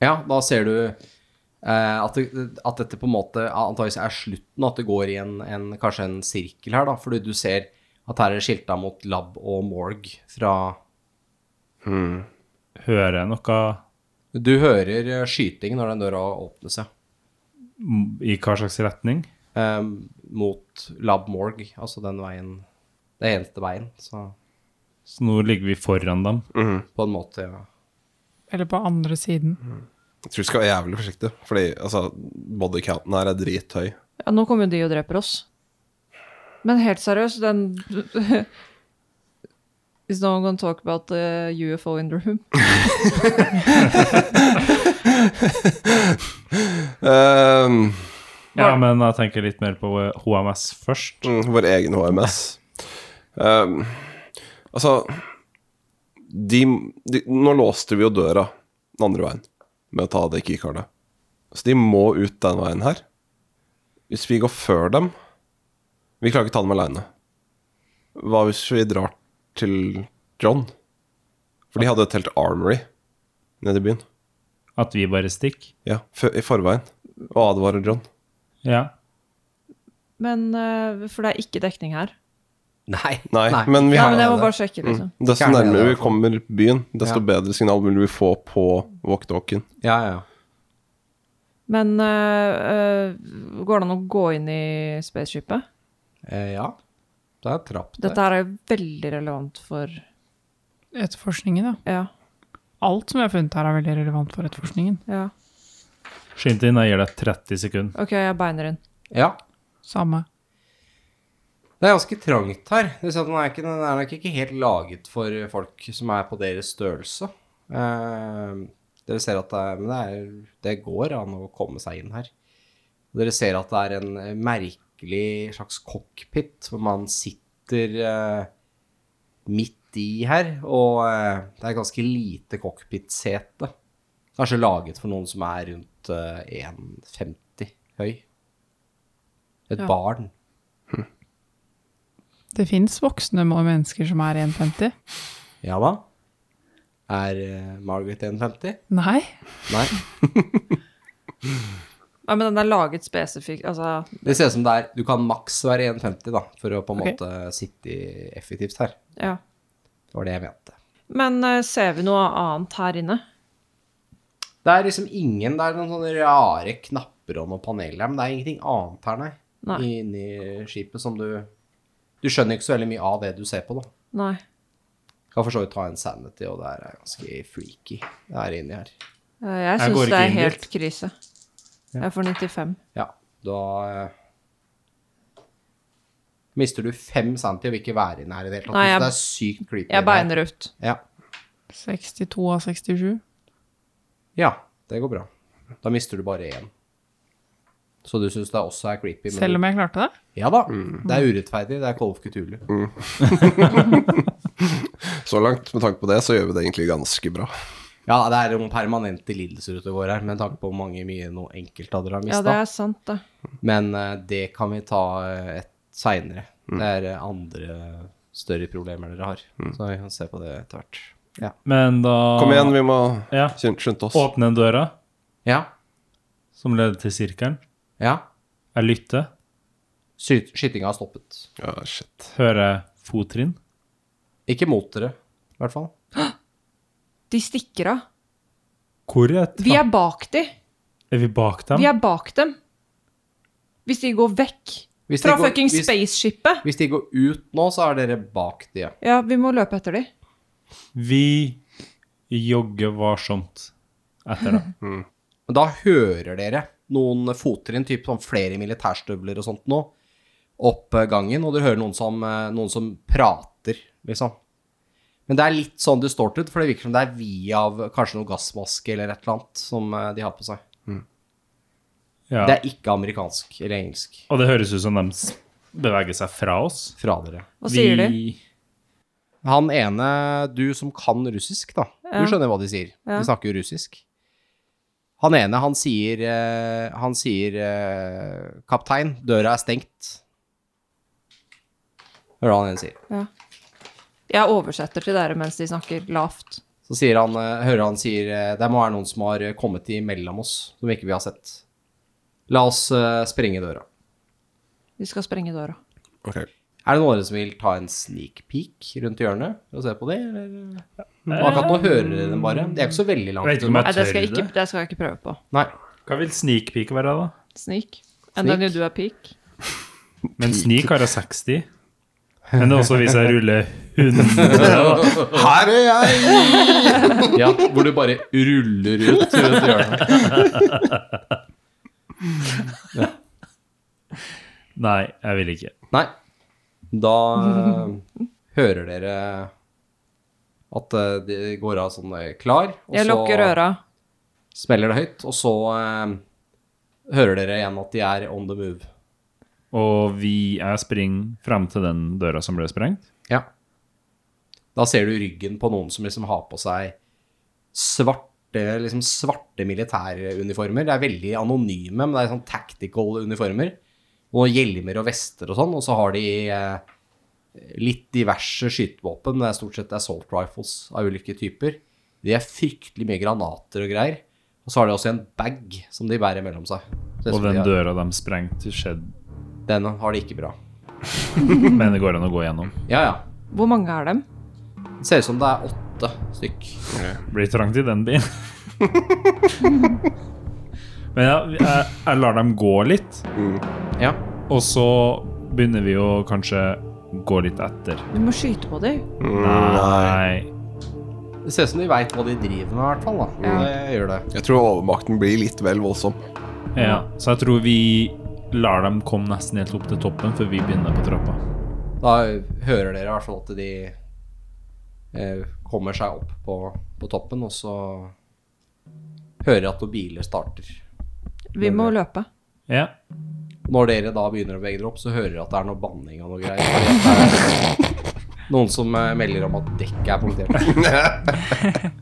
[SPEAKER 2] Ja, da ser du eh, at, det, at dette på en måte antageligvis er slutten, at det går i en, en, kanskje en sirkel her, da, fordi du ser at her er det skilta mot lab og morg fra
[SPEAKER 3] Hører jeg noe
[SPEAKER 2] Du hører eh, skyting når den døra åpner seg.
[SPEAKER 3] m- i hva slags retning?
[SPEAKER 2] Eh, mot lab morg, altså den veien Det eneste veien, så
[SPEAKER 3] Så nå ligger vi foran dem.
[SPEAKER 2] på en måte, ja.
[SPEAKER 6] Eller på andre siden.
[SPEAKER 4] Jeg tror vi skal være jævlig forsiktige, fordi altså, bodycounten her er drithøy.
[SPEAKER 5] Ja, nå kommer jo de og dreper oss. Men helt seriøst, den Is no one gonna talk about the UFO in the room?
[SPEAKER 4] Ehm,
[SPEAKER 3] Ja, men jeg tenker litt mer på eh, HMS først.
[SPEAKER 4] mm, vår egen HMS. Ehm, altså de, de, Nå låste vi jo døra den andre veien med å ta det keycardet. Så de må ut den veien her. Hvis vi går før dem Vi klarer ikke ta dem aleine. Hva hvis vi drar til John? For de hadde et helt armory nede i byen.
[SPEAKER 3] At vi bare stikker.
[SPEAKER 4] Ja, fø- i forveien. Og advarer John.
[SPEAKER 3] Ja.
[SPEAKER 5] Men eh, For det er ikke dekning her.
[SPEAKER 2] Nei.
[SPEAKER 4] Nei, men vi
[SPEAKER 5] Ja,
[SPEAKER 4] har
[SPEAKER 5] men jeg må
[SPEAKER 2] det.
[SPEAKER 5] bare sjekke, liksom.
[SPEAKER 4] Mm. Desto
[SPEAKER 2] Gjerne
[SPEAKER 4] nærmere
[SPEAKER 2] det,
[SPEAKER 4] vi
[SPEAKER 2] altså.
[SPEAKER 4] kommer byen, desto
[SPEAKER 2] Ja.
[SPEAKER 4] bedre signal vil vi få på walktalkien.
[SPEAKER 2] Ja, ja, ja.
[SPEAKER 5] Men eh, eh, går det an å gå inn i spaceshipet?
[SPEAKER 2] Eh, ja. Det er trapp der.
[SPEAKER 5] Dette her er jo veldig relevant for
[SPEAKER 6] Etterforskningen, ja.
[SPEAKER 5] Ja.
[SPEAKER 6] Alt som vi har funnet her, er veldig relevant for etterforskningen.
[SPEAKER 5] ja.
[SPEAKER 3] Skynd deg inn, jeg gir deg 30 sekunder.
[SPEAKER 5] OK, jeg beiner inn.
[SPEAKER 2] Ja.
[SPEAKER 6] Samme.
[SPEAKER 2] Det er ganske trangt her. Det vil si at den er, ikke, den er nok ikke helt laget for folk som er på deres størrelse. Eh, dere ser at det, er- men det, er, det går an å komme seg inn her. Dere ser at det er en merkelig slags cockpit hvor man sitter eh, midt i her, og eh, det er et ganske lite cockpit-sete. Kanskje laget for noen som er rundt eh, 1,50 høy. Et
[SPEAKER 5] Ja.
[SPEAKER 2] barn.
[SPEAKER 6] Det fins voksne må- mennesker som er 1,50.
[SPEAKER 2] Ja da. Er eh, Margaret 1,50?
[SPEAKER 6] Nei.
[SPEAKER 2] Nei.
[SPEAKER 5] Ja, men den er laget spesifikt Altså,
[SPEAKER 2] Det ser ut som det er Du kan maks være 1,50 da, for å på en
[SPEAKER 6] Ok.
[SPEAKER 2] måte sitte i- effektivt her.
[SPEAKER 5] ja.
[SPEAKER 2] Det var det jeg mente.
[SPEAKER 5] Men eh, ser vi noe annet her inne?
[SPEAKER 2] Det er liksom ingen Det er noen sånne rare knapper og noen paneler, men det er ingenting annet her, nei.
[SPEAKER 5] Nei.
[SPEAKER 2] Inni skipet som du Du skjønner ikke så veldig mye av det du ser på, da.
[SPEAKER 5] Nei.
[SPEAKER 2] Kan for så vidt ta en sanity, og det her er ganske freaky, det her inni her.
[SPEAKER 5] Eh, Jeg
[SPEAKER 3] går
[SPEAKER 5] syns
[SPEAKER 3] ikke
[SPEAKER 5] det er
[SPEAKER 3] inn
[SPEAKER 5] helt
[SPEAKER 3] dit.
[SPEAKER 5] krise. Jeg får 95.
[SPEAKER 2] Ja, da eh, Mister du fem sanity og vil ikke være inne her i det hele tatt.
[SPEAKER 5] Nei, jeg-
[SPEAKER 2] det er sykt creepy.
[SPEAKER 5] Jeg
[SPEAKER 2] det her.
[SPEAKER 5] beiner ut.
[SPEAKER 2] Ja.
[SPEAKER 6] 62 av 67.
[SPEAKER 2] ja, det går bra. Da mister du bare én. Så du syns det også er creepy? men-
[SPEAKER 6] Selv om jeg klarte det.
[SPEAKER 2] Ja da. Det er urettferdig. Det er Kolf Kutulu.
[SPEAKER 4] Så langt, med tanke på det, så gjør vi det egentlig ganske bra.
[SPEAKER 2] Ja, det er noen permanente lidelser ute og går her, med tanke på hvor mange mye noe enkelt av dere har
[SPEAKER 5] Ja,
[SPEAKER 2] mista.
[SPEAKER 5] det er sant, det.
[SPEAKER 2] Men eh, det kan vi ta eh, et seinere. Det er eh, andre større problemer dere har. Så vi kan se på det etter hvert. Ja.
[SPEAKER 3] Men da
[SPEAKER 4] Kom igjen, vi må
[SPEAKER 3] Ah. Ja.
[SPEAKER 4] skyn- skynde oss.
[SPEAKER 3] Åpne døra
[SPEAKER 2] ja.
[SPEAKER 3] som leder til sirkelen.
[SPEAKER 2] ja.
[SPEAKER 3] Jeg lytter.
[SPEAKER 2] Sky skytinga har stoppet.
[SPEAKER 4] Ja, shit.
[SPEAKER 3] Hører fottrinn.
[SPEAKER 2] Ikke mot dere, i hvert fall.
[SPEAKER 5] De stikker av.
[SPEAKER 3] Hvor er
[SPEAKER 5] Vi er bak de.
[SPEAKER 3] Er vi bak dem?
[SPEAKER 5] Vi er bak dem. Hvis de går vekk
[SPEAKER 2] Hvis de
[SPEAKER 5] fra
[SPEAKER 2] går-
[SPEAKER 5] fucking
[SPEAKER 2] hvis-
[SPEAKER 5] spaceshipet.
[SPEAKER 2] Hvis de går ut nå, så er dere bak de. ja.
[SPEAKER 5] Ja, vi må løpe etter de.
[SPEAKER 3] Vi jogger varsomt etter dem.
[SPEAKER 2] Men da hører dere noen fottrinn, typ sånn flere militærstøvler og sånt nå, opp eh, gangen, og dere hører noen som, eh, noen som prater, liksom. Men det er litt sånn det står til, for det virker som det er vi av kanskje noe gassmaske eller et eller annet som eh, de har på seg.
[SPEAKER 3] Ja.
[SPEAKER 2] Det er ikke amerikansk eller engelsk
[SPEAKER 3] Og det høres ut som de s- beveger seg fra oss.
[SPEAKER 2] fra dere.
[SPEAKER 5] Hva sier de?
[SPEAKER 2] Han ene, du som kan russisk, da.
[SPEAKER 5] Ja.
[SPEAKER 2] Du skjønner hva de sier.
[SPEAKER 5] Ja.
[SPEAKER 2] De snakker jo russisk. Han ene, han sier eh, Han sier eh, 'Kaptein, døra er stengt'. Hører du hva han ene sier.
[SPEAKER 5] Ja. Jeg oversetter til dere mens de snakker lavt.
[SPEAKER 2] Så sier han, eh, hører han sier eh, det må være noen som har eh, kommet imellom oss, som ikke vi har sett. La oss eh, sprenge døra.
[SPEAKER 5] Vi skal sprenge døra.
[SPEAKER 4] Ok.
[SPEAKER 2] Er det noen andre som vil ta en sneak peek rundt hjørnet og se på det? Eller? Akkurat nå hører dere dem bare. Det er ikke så veldig
[SPEAKER 3] Jeg Eh,
[SPEAKER 2] langt
[SPEAKER 3] vet ikke om
[SPEAKER 2] unna.
[SPEAKER 5] Nei, det skal jeg
[SPEAKER 3] tør
[SPEAKER 5] ikke, det skal jeg ikke prøve på.
[SPEAKER 2] Nei.
[SPEAKER 3] Hva vil snikpike være, da?
[SPEAKER 5] Sneak. Enda
[SPEAKER 2] Sneak.
[SPEAKER 5] når du er peak.
[SPEAKER 3] Men snik har jeg 60. Men det er også hvis jeg ruller 100.
[SPEAKER 4] Her er jeg!
[SPEAKER 2] Ja, hvor du bare ruller ut rundt hjørnet.
[SPEAKER 3] Nei, jeg vil ikke.
[SPEAKER 2] Nei. Da eh, hører dere at eh, det går av sånn eh, klar, og
[SPEAKER 5] Jeg lukker
[SPEAKER 2] så
[SPEAKER 5] øra.
[SPEAKER 2] smeller det høyt, og så eh, hører dere igjen at de er on the move.
[SPEAKER 3] Og vi jeg springer frem til den døra som ble sprengt.
[SPEAKER 2] Ja. Da ser du ryggen på noen som liksom har på seg svarte, liksom svarte militæruniformer. Det er veldig anonyme, men det er sånn tactical uniformer. Og hjelmer og vester og sånn, og så har de eh, litt diverse skytevåpen. men Det er stort sett assault rifles av ulike typer. De er fryktelig mye granater og greier. Og så har de også en bag som de bærer mellom seg. Så det er
[SPEAKER 3] Og
[SPEAKER 2] som de
[SPEAKER 3] den
[SPEAKER 2] har-
[SPEAKER 3] døra de sprengte, skjedde.
[SPEAKER 2] Den har de ikke bra.
[SPEAKER 3] Men det går an å gå gjennom.
[SPEAKER 2] Ja, ja.
[SPEAKER 5] Hvor mange er dem?
[SPEAKER 2] Det ser ut som det er åtte stykk.
[SPEAKER 3] Blir trangt i den bilen. Men ja, jeg, jeg lar dem gå litt,
[SPEAKER 2] Ja.
[SPEAKER 3] og så begynner vi å kanskje gå litt etter.
[SPEAKER 5] Du må skyte på dem.
[SPEAKER 3] Nei.
[SPEAKER 2] Det ser ut som de veit hva de driver med, i hvert fall. da. Det gjør det.
[SPEAKER 4] Jeg tror overmakten blir litt vel voldsom.
[SPEAKER 3] Ja, så jeg tror vi lar dem komme nesten helt opp til toppen før vi begynner på trappa.
[SPEAKER 2] Da hører dere i hvert fall at de eh, kommer seg opp på, på toppen, og så hører dere at noen biler starter.
[SPEAKER 5] Vi må løpe.
[SPEAKER 3] Ja.
[SPEAKER 2] Når dere da begynner å bevege dere opp, så hører dere at det er noe banning og noe greier. Det er Noen som eh, melder om at dekket er punktert.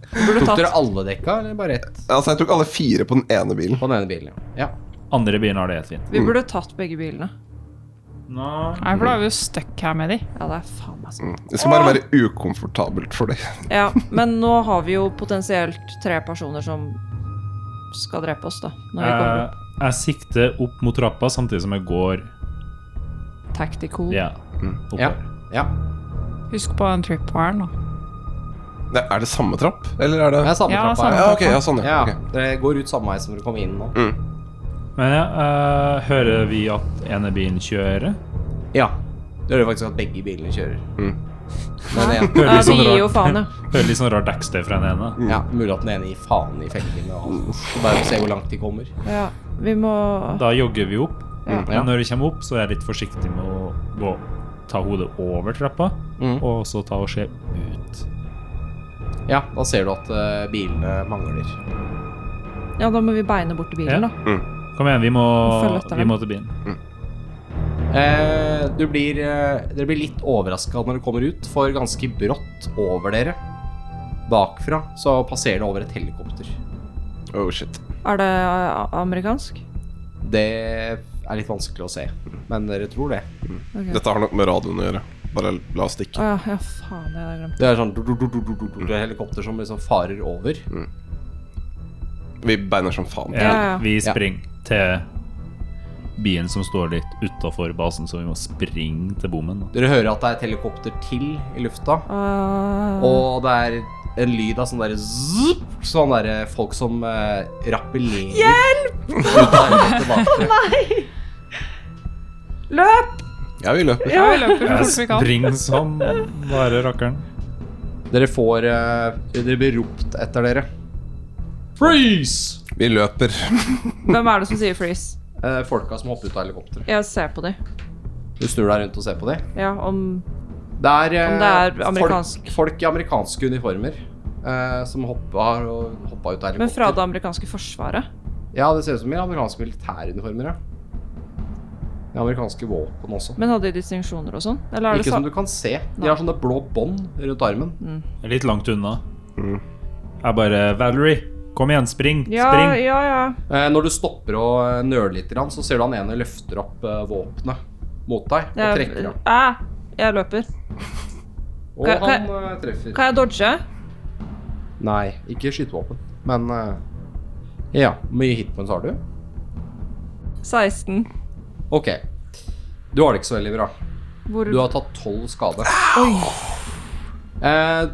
[SPEAKER 5] Burde
[SPEAKER 2] Tok
[SPEAKER 5] tatt
[SPEAKER 2] dere alle dekka, eller bare ett
[SPEAKER 4] Altså, jeg tok alle fire på den ene bilen.
[SPEAKER 2] på den ene bilen? Ja. ja.
[SPEAKER 3] Andre bilen har det helt fint.
[SPEAKER 5] Vi burde tatt begge bilene.
[SPEAKER 3] Nei.
[SPEAKER 6] Nei, for da er vi jo stuck her med de.
[SPEAKER 5] Ja, det er faen
[SPEAKER 2] Mm.
[SPEAKER 5] meg sånn.
[SPEAKER 4] Det skal bare være ukomfortabelt for deg.
[SPEAKER 5] Ja, men nå har vi jo potensielt tre personer som skal drepe oss, da. Når vi kommer
[SPEAKER 3] Jeg, eh, jeg sikter opp mot trappa samtidig som jeg går
[SPEAKER 5] Mm.
[SPEAKER 6] Eh,
[SPEAKER 5] opp. Tactical.
[SPEAKER 3] ja, oppover.
[SPEAKER 2] Mm. Ja. ja.
[SPEAKER 6] Husk på den tripwaren, da.
[SPEAKER 4] Nei, er det samme trapp, eller er det
[SPEAKER 2] Det er samme
[SPEAKER 6] Ja,
[SPEAKER 2] trappa. Ja.
[SPEAKER 6] samme.
[SPEAKER 4] Ja, ok, ja, sånn, ja.
[SPEAKER 2] Ja,
[SPEAKER 4] ok.
[SPEAKER 2] Dere går ut samme vei som dere kom inn nå.
[SPEAKER 3] Men ja, eh, hører vi at ene bilen kjører?
[SPEAKER 2] Ja. Det gjør det faktisk at begge bilene kjører. Men det er-
[SPEAKER 3] Hører
[SPEAKER 5] Ja,
[SPEAKER 3] litt sånn
[SPEAKER 5] vi gir jo
[SPEAKER 3] rart-
[SPEAKER 5] faen, ja.
[SPEAKER 3] Hører litt sånn rar dekkstøy fra den ene.
[SPEAKER 2] Ja, mulig at den ene gir faen i felgene og alt. Så Bare se hvor langt de kommer.
[SPEAKER 5] ja. Vi må
[SPEAKER 3] Da jogger vi opp.
[SPEAKER 5] Ja.
[SPEAKER 3] Men når vi kommer opp, så er jeg litt forsiktig med å gå, ta hodet over trappa,
[SPEAKER 2] Mm.
[SPEAKER 3] og så ta og se ut.
[SPEAKER 2] Ja, da ser du at eh, bilene mangler.
[SPEAKER 5] Ja, da må vi beine bort til bilen,
[SPEAKER 3] Ja.
[SPEAKER 5] da.
[SPEAKER 3] Kom igjen, vi må,
[SPEAKER 5] Følg
[SPEAKER 3] vi
[SPEAKER 5] etter dem.
[SPEAKER 3] må til bilen.
[SPEAKER 2] Eh, du blir, eh, dere blir litt overraska når dere kommer ut, for ganske brått over dere, bakfra, så passerer det over et helikopter.
[SPEAKER 4] Oh, shit.
[SPEAKER 5] Er det eh, amerikansk?
[SPEAKER 2] Det er litt vanskelig å se, men dere tror det.
[SPEAKER 5] Ok.
[SPEAKER 4] Dette har nok med radioen å gjøre. Bare la oss stikke.
[SPEAKER 5] Å ja, ja, faen, jeg hadde glemt.
[SPEAKER 2] Det er sånn du- du- du- du- du- du- du- helikopter som liksom farer over.
[SPEAKER 4] Vi beiner som faen.
[SPEAKER 3] Ja,
[SPEAKER 5] Ja, ja.
[SPEAKER 3] Vi springer til bilen som står litt utafor basen, så vi må springe til bommen. da.
[SPEAKER 2] Dere hører at det er et helikopter til i lufta.
[SPEAKER 5] Ah,
[SPEAKER 2] Og det er en lyd av sånn derre zzzp, Sånn derre folk som eh, rappellerer. Hjelp!
[SPEAKER 5] løp!
[SPEAKER 4] Ja, vi løper.
[SPEAKER 6] Ja, vi løper så
[SPEAKER 3] Jeg
[SPEAKER 6] fort vi kan.
[SPEAKER 3] springer som bare rakkeren.
[SPEAKER 2] dere får eh, Dere blir ropt etter dere. Freeze!
[SPEAKER 4] Vi løper.
[SPEAKER 5] Hvem er det som sier freeze?
[SPEAKER 2] Eh, folka som hopper ut av helikopteret.
[SPEAKER 5] Jeg ser på de.
[SPEAKER 2] Du snur deg rundt og ser på dem.
[SPEAKER 5] Ja, om
[SPEAKER 2] Det er, eh,
[SPEAKER 5] Om det er amerikansk.
[SPEAKER 2] folk, folk i amerikanske uniformer eh, som hoppa, har hoppa ut av helikopteret.
[SPEAKER 5] Men fra det amerikanske forsvaret?
[SPEAKER 2] Ja, det ser ut som i amerikanske militæruniformer, ja. Det er amerikanske våpen også.
[SPEAKER 5] Men hadde de distinksjoner og sånn? Eller er det
[SPEAKER 2] Ikke som
[SPEAKER 5] sånn?
[SPEAKER 2] du kan se.
[SPEAKER 5] Nei.
[SPEAKER 2] De har sånne blå bånd rundt armen.
[SPEAKER 3] Litt langt unna.
[SPEAKER 2] Mm.
[SPEAKER 3] Jeg bare Valerie, kom igjen, spring!
[SPEAKER 5] Ja,
[SPEAKER 3] spring!
[SPEAKER 5] ja, ja.
[SPEAKER 2] Eh, Når du stopper og eh, nøler litt, grann, så ser du han ene løfter opp eh, våpenet mot deg og
[SPEAKER 5] Jeg,
[SPEAKER 2] trekker av.
[SPEAKER 5] Æ, jeg løper.
[SPEAKER 2] Og
[SPEAKER 5] Kan- kan-
[SPEAKER 2] han eh, treffer.
[SPEAKER 5] Kan jeg dodge?
[SPEAKER 2] Nei, ikke skytevåpen, men eh, Ja, hvor mye hitpoints har du?
[SPEAKER 5] 16.
[SPEAKER 2] Ok. Du har det ikke så veldig bra.
[SPEAKER 5] Hvor
[SPEAKER 2] Du har tatt tolv skade. Eh,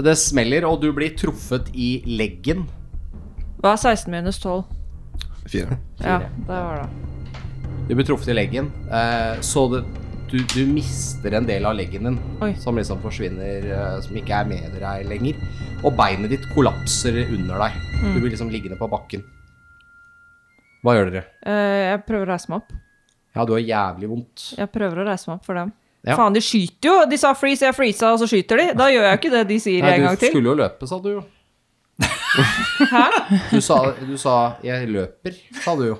[SPEAKER 2] det smeller, og du blir truffet i leggen.
[SPEAKER 5] Hva er 16 minus 12?
[SPEAKER 4] Fire.
[SPEAKER 5] Ja,
[SPEAKER 2] Fire.
[SPEAKER 5] det var det.
[SPEAKER 2] Du blir truffet i leggen, eh, så det, du, du mister en del av leggen din.
[SPEAKER 5] Oi.
[SPEAKER 2] Som liksom forsvinner, eh, som ikke er med deg lenger. Og beinet ditt kollapser under deg.
[SPEAKER 5] Mm.
[SPEAKER 2] Du blir liksom liggende på bakken. Hva gjør dere?
[SPEAKER 5] Eh, jeg prøver å reise meg opp.
[SPEAKER 2] Ja, du har jævlig vondt.
[SPEAKER 5] Jeg prøver å reise meg opp for dem.
[SPEAKER 2] Ja.
[SPEAKER 5] Faen, de skyter jo! De sa freeze, jeg freeza, og så skyter de. Da gjør jeg ikke det de sier
[SPEAKER 2] Nei,
[SPEAKER 5] en
[SPEAKER 2] du
[SPEAKER 5] gang til.
[SPEAKER 2] skulle jo løpe, sa du jo. Hæ? Du sa, du sa 'jeg løper', sa du jo.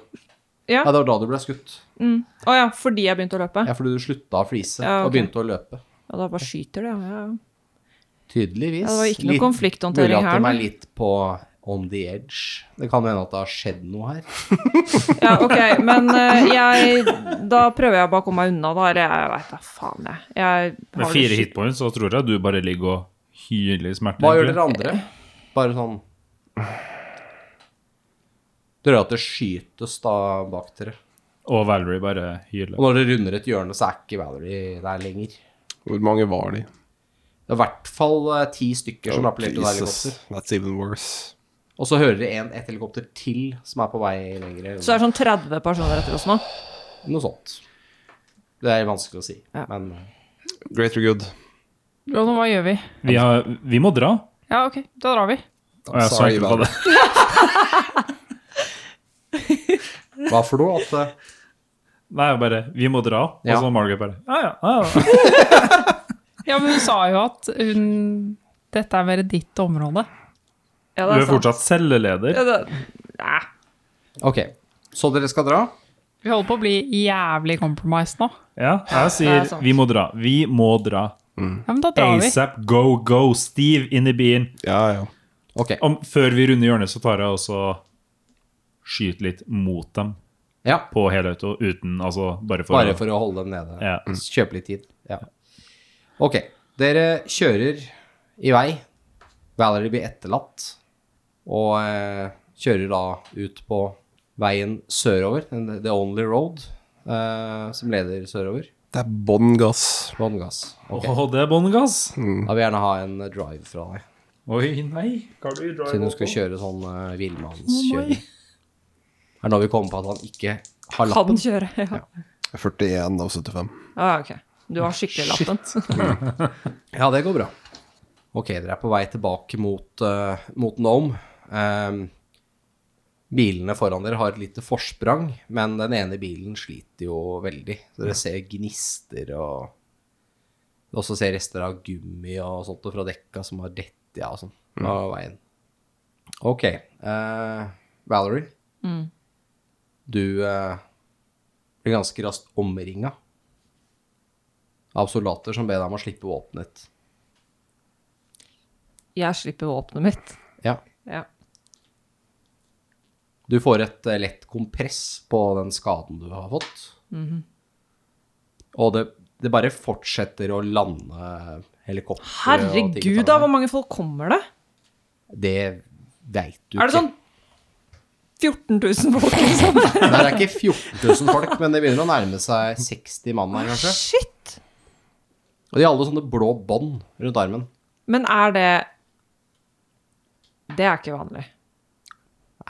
[SPEAKER 5] Ja.
[SPEAKER 2] det var da du ble skutt.
[SPEAKER 5] Mm. Å ja, fordi jeg begynte å løpe.
[SPEAKER 2] Ja, fordi du slutta å flise
[SPEAKER 5] Ja,
[SPEAKER 2] og
[SPEAKER 5] ok.
[SPEAKER 2] begynte å løpe.
[SPEAKER 5] Og da bare skyter de. Ja, ja.
[SPEAKER 2] Tydeligvis.
[SPEAKER 5] Ja, det var ikke noe
[SPEAKER 2] Litt-
[SPEAKER 5] konflikthåndtering
[SPEAKER 2] Mulig at de
[SPEAKER 5] her,
[SPEAKER 2] er
[SPEAKER 5] men-
[SPEAKER 2] litt på on the edge. Det kan hende at det har skjedd noe her.
[SPEAKER 5] ja, ok, men eh, jeg Da prøver jeg bare å komme meg unna, da. Eller jeg veit da faen, jeg. jeg har
[SPEAKER 3] Med
[SPEAKER 5] det
[SPEAKER 3] fire
[SPEAKER 5] skitt-
[SPEAKER 3] hitpoints så tror jeg du bare ligger og hyler i smerte.
[SPEAKER 2] Hva gjør
[SPEAKER 3] egentlig.
[SPEAKER 2] dere andre? Bare sånn Dere hører at det skytes da bak dere.
[SPEAKER 3] Og Valerie bare hyler.
[SPEAKER 2] Og når dere runder et hjørne, så er ikke Valerie der lenger.
[SPEAKER 4] Hvor mange var de?
[SPEAKER 2] Det er i hvert fall eh, ti stykker som appellerte til helikopter.
[SPEAKER 4] Oh, that's even worse.
[SPEAKER 2] Og så hører dere en, et helikopter til som er på vei lenger.
[SPEAKER 5] Så det er sånn 30 personer etter oss nå.
[SPEAKER 2] Noe sånt. Det er vanskelig å si,
[SPEAKER 5] Ja.
[SPEAKER 2] men eh,
[SPEAKER 4] Greater good.
[SPEAKER 6] Ronny, hva gjør vi?
[SPEAKER 3] Vi, har, vi må dra.
[SPEAKER 6] Ja, ok, da drar vi.
[SPEAKER 3] Og jeg
[SPEAKER 4] Sorry,
[SPEAKER 3] svarte på det.
[SPEAKER 2] hva for noe? At eh,
[SPEAKER 3] Nei, jeg bare Vi må dra. Og
[SPEAKER 2] Ja.
[SPEAKER 3] så Margaret bare Ja, ja. ja.
[SPEAKER 6] Ja, men hun sa jo at hun Dette er mer ditt område.
[SPEAKER 5] Ja,
[SPEAKER 3] Du er
[SPEAKER 5] det er sant.
[SPEAKER 3] fortsatt celleleder.
[SPEAKER 5] Ja, det, Nei.
[SPEAKER 2] Ok, så dere skal dra?
[SPEAKER 6] Vi holder på å bli jævlig compromised nå.
[SPEAKER 3] Ja, jeg
[SPEAKER 5] Det er
[SPEAKER 3] sier
[SPEAKER 5] sant.
[SPEAKER 3] vi må dra. Vi må dra.
[SPEAKER 6] Ja, men da drar vi.
[SPEAKER 3] ASAP, go, go, Steve in the bean.
[SPEAKER 4] Ja, ja.
[SPEAKER 2] Ok.
[SPEAKER 3] Om, før vi runder hjørnet, så tar jeg også skyter litt mot dem
[SPEAKER 2] Ja.
[SPEAKER 3] på helauto. Uten, altså, bare for,
[SPEAKER 2] Bare for å holde dem nede. Mm.
[SPEAKER 3] Ja.
[SPEAKER 2] Kjøpe litt tid. Ja. Ok, dere kjører i vei. Valerie blir etterlatt. Og eh, kjører da ut på veien sørover. den- The Only Road, eh, som leder sørover.
[SPEAKER 4] Det er bånn gass.
[SPEAKER 2] Bånn gass. Ok. Mm.
[SPEAKER 3] Åh, det er bånn gass!
[SPEAKER 2] Da vil jeg gjerne ha en drive fra deg.
[SPEAKER 3] Oi, nei. Hva er det du drar
[SPEAKER 2] Siden hun skal
[SPEAKER 3] på?
[SPEAKER 2] kjøre sånn uh, villmannskjøring. Det er nå vi kommer på at han ikke har
[SPEAKER 5] Kan
[SPEAKER 2] lappen.
[SPEAKER 5] kjøre. Ja.
[SPEAKER 4] 41 av 75.
[SPEAKER 5] Ah, ok. Du har skikkelig lappen.
[SPEAKER 2] Ja, det går bra. Ok, dere er på vei tilbake mot, eh, mot Nome. Ehm, bilene foran dere har et lite forsprang, men den ene bilen sliter jo veldig. Så dere ser gnister og Dere også ser rester av gummi og sånt og fra dekka som har dett ja, og sånn av veien. Ok. eh, Valerie, du eh, blir ganske raskt omringa av soldater som ber deg om å slippe våpenet ditt.
[SPEAKER 5] Jeg slipper våpenet mitt.
[SPEAKER 2] Ja.
[SPEAKER 5] Ja.
[SPEAKER 2] Du får et eh, lett kompress på den skaden du har fått.
[SPEAKER 5] Mhm.
[SPEAKER 2] Og det, det bare fortsetter å lande helikoptre og ting
[SPEAKER 5] Herregud,
[SPEAKER 2] og
[SPEAKER 5] da!
[SPEAKER 2] tang.
[SPEAKER 5] Hvor mange folk kommer det?
[SPEAKER 2] Det veit du
[SPEAKER 5] Er
[SPEAKER 2] ikke.
[SPEAKER 5] det sånn 14 000 folk, liksom?
[SPEAKER 2] Nei, det er ikke 14 000 folk, men det begynner å nærme seg 60 mann her, kanskje.
[SPEAKER 5] Shit!
[SPEAKER 2] Og de har alle sånne blå bånd rundt armen.
[SPEAKER 5] Men er det Det er ikke vanlig.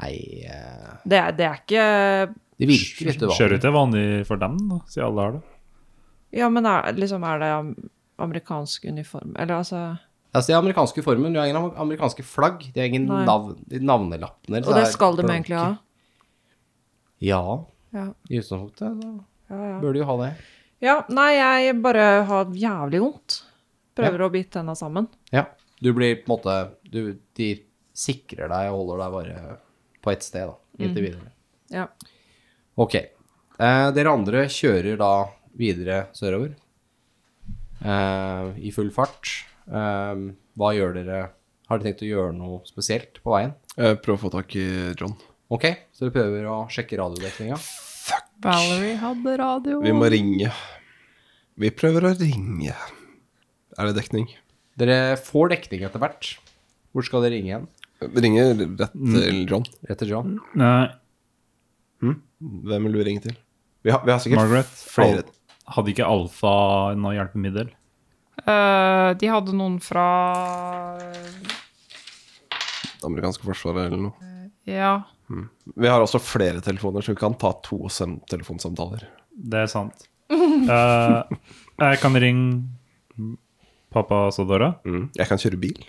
[SPEAKER 2] Nei eh,
[SPEAKER 5] Det er, det er ikke
[SPEAKER 2] De virker litt
[SPEAKER 3] Kjører
[SPEAKER 2] uvanlige.
[SPEAKER 3] ikke vanlig for dem, da, siden alle har det.
[SPEAKER 5] Ja, men er, liksom, er det am- amerikansk uniform? Eller altså
[SPEAKER 2] Altså, de har amerikanske formen, de har ingen amerikanske flagg, de har ingen
[SPEAKER 5] Nei.
[SPEAKER 2] navn, de navnelappene.
[SPEAKER 5] Og det skal de egentlig ha.
[SPEAKER 2] Ja,
[SPEAKER 5] Ja,
[SPEAKER 2] i utgangspunktet så
[SPEAKER 5] ja, ja.
[SPEAKER 2] bør de jo ha det.
[SPEAKER 5] ja, nei, jeg bare har jævlig vondt. Prøver å bite tenna sammen.
[SPEAKER 2] Ja, du blir på en måte du, De sikrer deg og holder deg bare på ett sted, da. Inntil videre.
[SPEAKER 5] Ja.
[SPEAKER 2] Ok. Eh, dere andre kjører da videre sørover eh, i full fart. Eh, hva gjør dere? Har dere tenkt å gjøre noe spesielt på veien?
[SPEAKER 4] Eh, Prøv å få tak i John.
[SPEAKER 2] Ok, så dere prøver å sjekke radiodekninga.
[SPEAKER 6] Valerie hadde radio.
[SPEAKER 4] Vi må ringe. Vi prøver å ringe. Er det dekning?
[SPEAKER 2] Dere får dekning etter hvert. Hvor skal dere ringe igjen?
[SPEAKER 4] Ringe rett til John.
[SPEAKER 2] Rett til John?
[SPEAKER 3] Nei,
[SPEAKER 4] Hvem vil du ringe til? Vi har, vi har sikkert
[SPEAKER 3] Margaret.
[SPEAKER 4] flere
[SPEAKER 3] Hadde ikke Alfa noe hjelpemiddel?
[SPEAKER 6] Eh, de hadde noen fra
[SPEAKER 4] amerikanske forsvaret eller noe.
[SPEAKER 6] Ja.
[SPEAKER 4] Vi har også flere telefoner, så vi kan ta to sem- telefonsamtaler.
[SPEAKER 3] Det er sant. Eh, jeg kan ringe pappa Sodora.
[SPEAKER 2] Mm.
[SPEAKER 4] Jeg kan kjøre bil.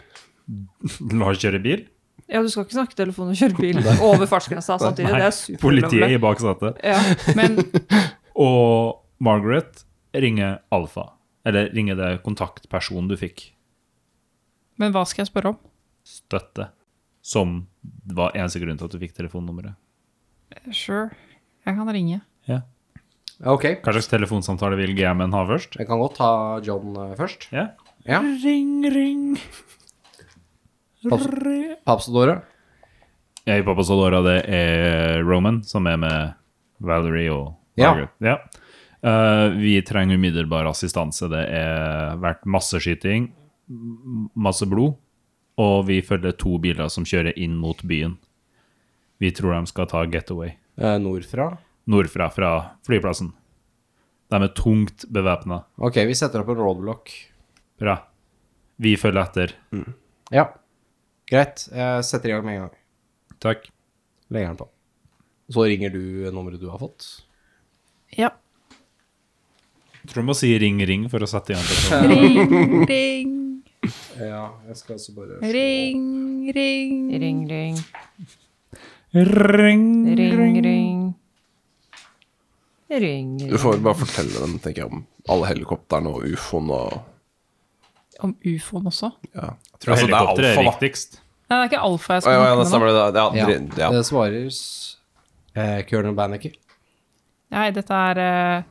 [SPEAKER 3] La oss kjøre bil.
[SPEAKER 5] Ja, du skal ikke snakke telefon og kjøre bil over fartsgrensa samtidig. Det er
[SPEAKER 3] Politiet
[SPEAKER 5] superulovlig.
[SPEAKER 3] i baksetet.
[SPEAKER 5] Ja.
[SPEAKER 6] Men
[SPEAKER 3] Og Margaret ringer Alfa. Eller ringer det kontaktpersonen du fikk.
[SPEAKER 6] Men hva skal jeg spørre om?
[SPEAKER 3] Støtte. Som var eneste grunn til at du fikk telefonnummeret.
[SPEAKER 6] Sure, jeg kan ringe.
[SPEAKER 3] Ja.
[SPEAKER 2] Ja, Ok,
[SPEAKER 3] Hva slags telefonsamtale vil GM-en ha først?
[SPEAKER 2] jeg kan godt ta John eh, først.
[SPEAKER 3] Ja.
[SPEAKER 2] Ja.
[SPEAKER 3] Ring, ring.
[SPEAKER 2] Papsodore.
[SPEAKER 3] Jeg i Pappa Sodora, det er Roman, som er med Valerie og
[SPEAKER 2] Ja.
[SPEAKER 3] Margaret. Ja. Eh, vi trenger umiddelbar assistanse. Det har vært masseskyting, m- masse blod, og vi følger to biler som kjører inn mot byen. Vi tror de skal ta getaway
[SPEAKER 2] Eh, nordfra.
[SPEAKER 3] nordfra fra flyplassen. De er tungt bevæpna.
[SPEAKER 2] Ok, vi setter opp en roadblock.
[SPEAKER 3] Bra. Vi følger etter.
[SPEAKER 2] Ja. Greit, jeg setter i gang med en gang.
[SPEAKER 3] Takk.
[SPEAKER 2] Legger den på. Så ringer du nummeret du har fått.
[SPEAKER 6] Ja.
[SPEAKER 3] Tror du må si ring, ring for å sette i gang. telefonen.
[SPEAKER 6] Ring, ring,
[SPEAKER 2] Ja, jeg skal altså bare
[SPEAKER 6] ring, ring.
[SPEAKER 5] Ring, ring,
[SPEAKER 3] Ring,
[SPEAKER 5] ring, ring. Ring,
[SPEAKER 4] Du
[SPEAKER 5] ring.
[SPEAKER 4] får bare fortelle dem tenker jeg, om alle helikoptrene og ufoen og
[SPEAKER 6] Om ufoen også? Nei,
[SPEAKER 4] ja.
[SPEAKER 3] Tror
[SPEAKER 4] Altså, det er
[SPEAKER 3] helikopter er
[SPEAKER 4] alfa, da.
[SPEAKER 3] viktigst.
[SPEAKER 6] det er ikke alfa jeg
[SPEAKER 4] Å,
[SPEAKER 6] skal
[SPEAKER 4] ja, ja, da
[SPEAKER 6] snakke med nå.
[SPEAKER 4] stemmer det. da. Ja,
[SPEAKER 2] Ja,
[SPEAKER 4] dri- ja.
[SPEAKER 2] det svarer s- eh, Colonel Banneker.
[SPEAKER 6] Nei, dette er eh,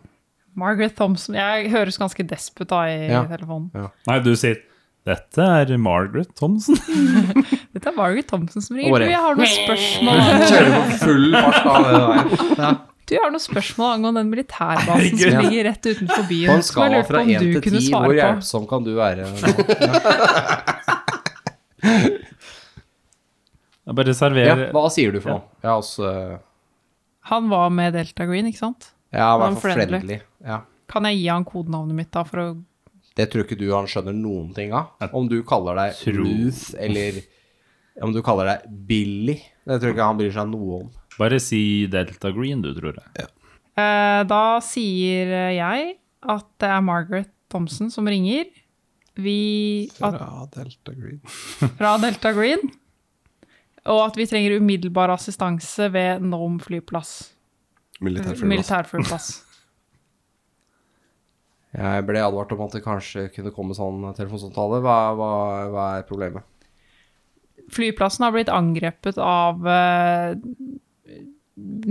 [SPEAKER 6] Margaret Thompson. Jeg høres ganske despot da i
[SPEAKER 2] Ja.
[SPEAKER 6] telefonen.
[SPEAKER 3] Nei, du sier Dette er Margaret Thomsen.
[SPEAKER 6] Dette er Margaret Thompson som
[SPEAKER 2] Og
[SPEAKER 6] ringer.
[SPEAKER 2] bare-
[SPEAKER 6] Du, jeg har noen spørsmål.
[SPEAKER 2] Kjører på full fart av det der.
[SPEAKER 6] Du jeg har noen spørsmål angående den militærbasen som
[SPEAKER 2] Herregud.
[SPEAKER 6] ligger rett utenfor
[SPEAKER 2] På en
[SPEAKER 6] byen. Som jeg
[SPEAKER 2] skala
[SPEAKER 6] lurte
[SPEAKER 2] fra
[SPEAKER 6] på om
[SPEAKER 2] 1
[SPEAKER 6] du
[SPEAKER 2] til
[SPEAKER 6] kunne
[SPEAKER 2] 10, hvor
[SPEAKER 6] svare på.
[SPEAKER 2] hjelpsom kan du være?
[SPEAKER 3] Jeg bare
[SPEAKER 2] Ja,
[SPEAKER 3] serverer
[SPEAKER 2] hva sier du for noe? Jeg er også
[SPEAKER 6] Han var med Delta Green, ikke sant?
[SPEAKER 2] Jeg er i hvert
[SPEAKER 6] Han
[SPEAKER 2] fall
[SPEAKER 6] friendly.
[SPEAKER 2] friendly. Ja.
[SPEAKER 6] Kan jeg gi han kodenavnet mitt da for å
[SPEAKER 2] Det tror ikke du han skjønner noen ting av. Om du kaller deg
[SPEAKER 3] tror-
[SPEAKER 2] Ruth eller om du kaller deg Billy. Det tror jeg ikke han bryr seg noe om.
[SPEAKER 3] Bare si Delta Green, du, tror jeg.
[SPEAKER 6] Eh, Da sier jeg at det er Margaret Thompson som ringer. Vi at,
[SPEAKER 4] Ja, Delta Green.
[SPEAKER 6] fra Delta Green. Og at vi trenger umiddelbar assistanse ved Nome flyplass.
[SPEAKER 4] Militærfugl. altså.
[SPEAKER 6] Militærflyplass.
[SPEAKER 2] Jeg ble advart om at det kanskje kunne komme sånn telefonsamtale. Hva, hva, hva er problemet?
[SPEAKER 6] Flyplassen har blitt angrepet av eh,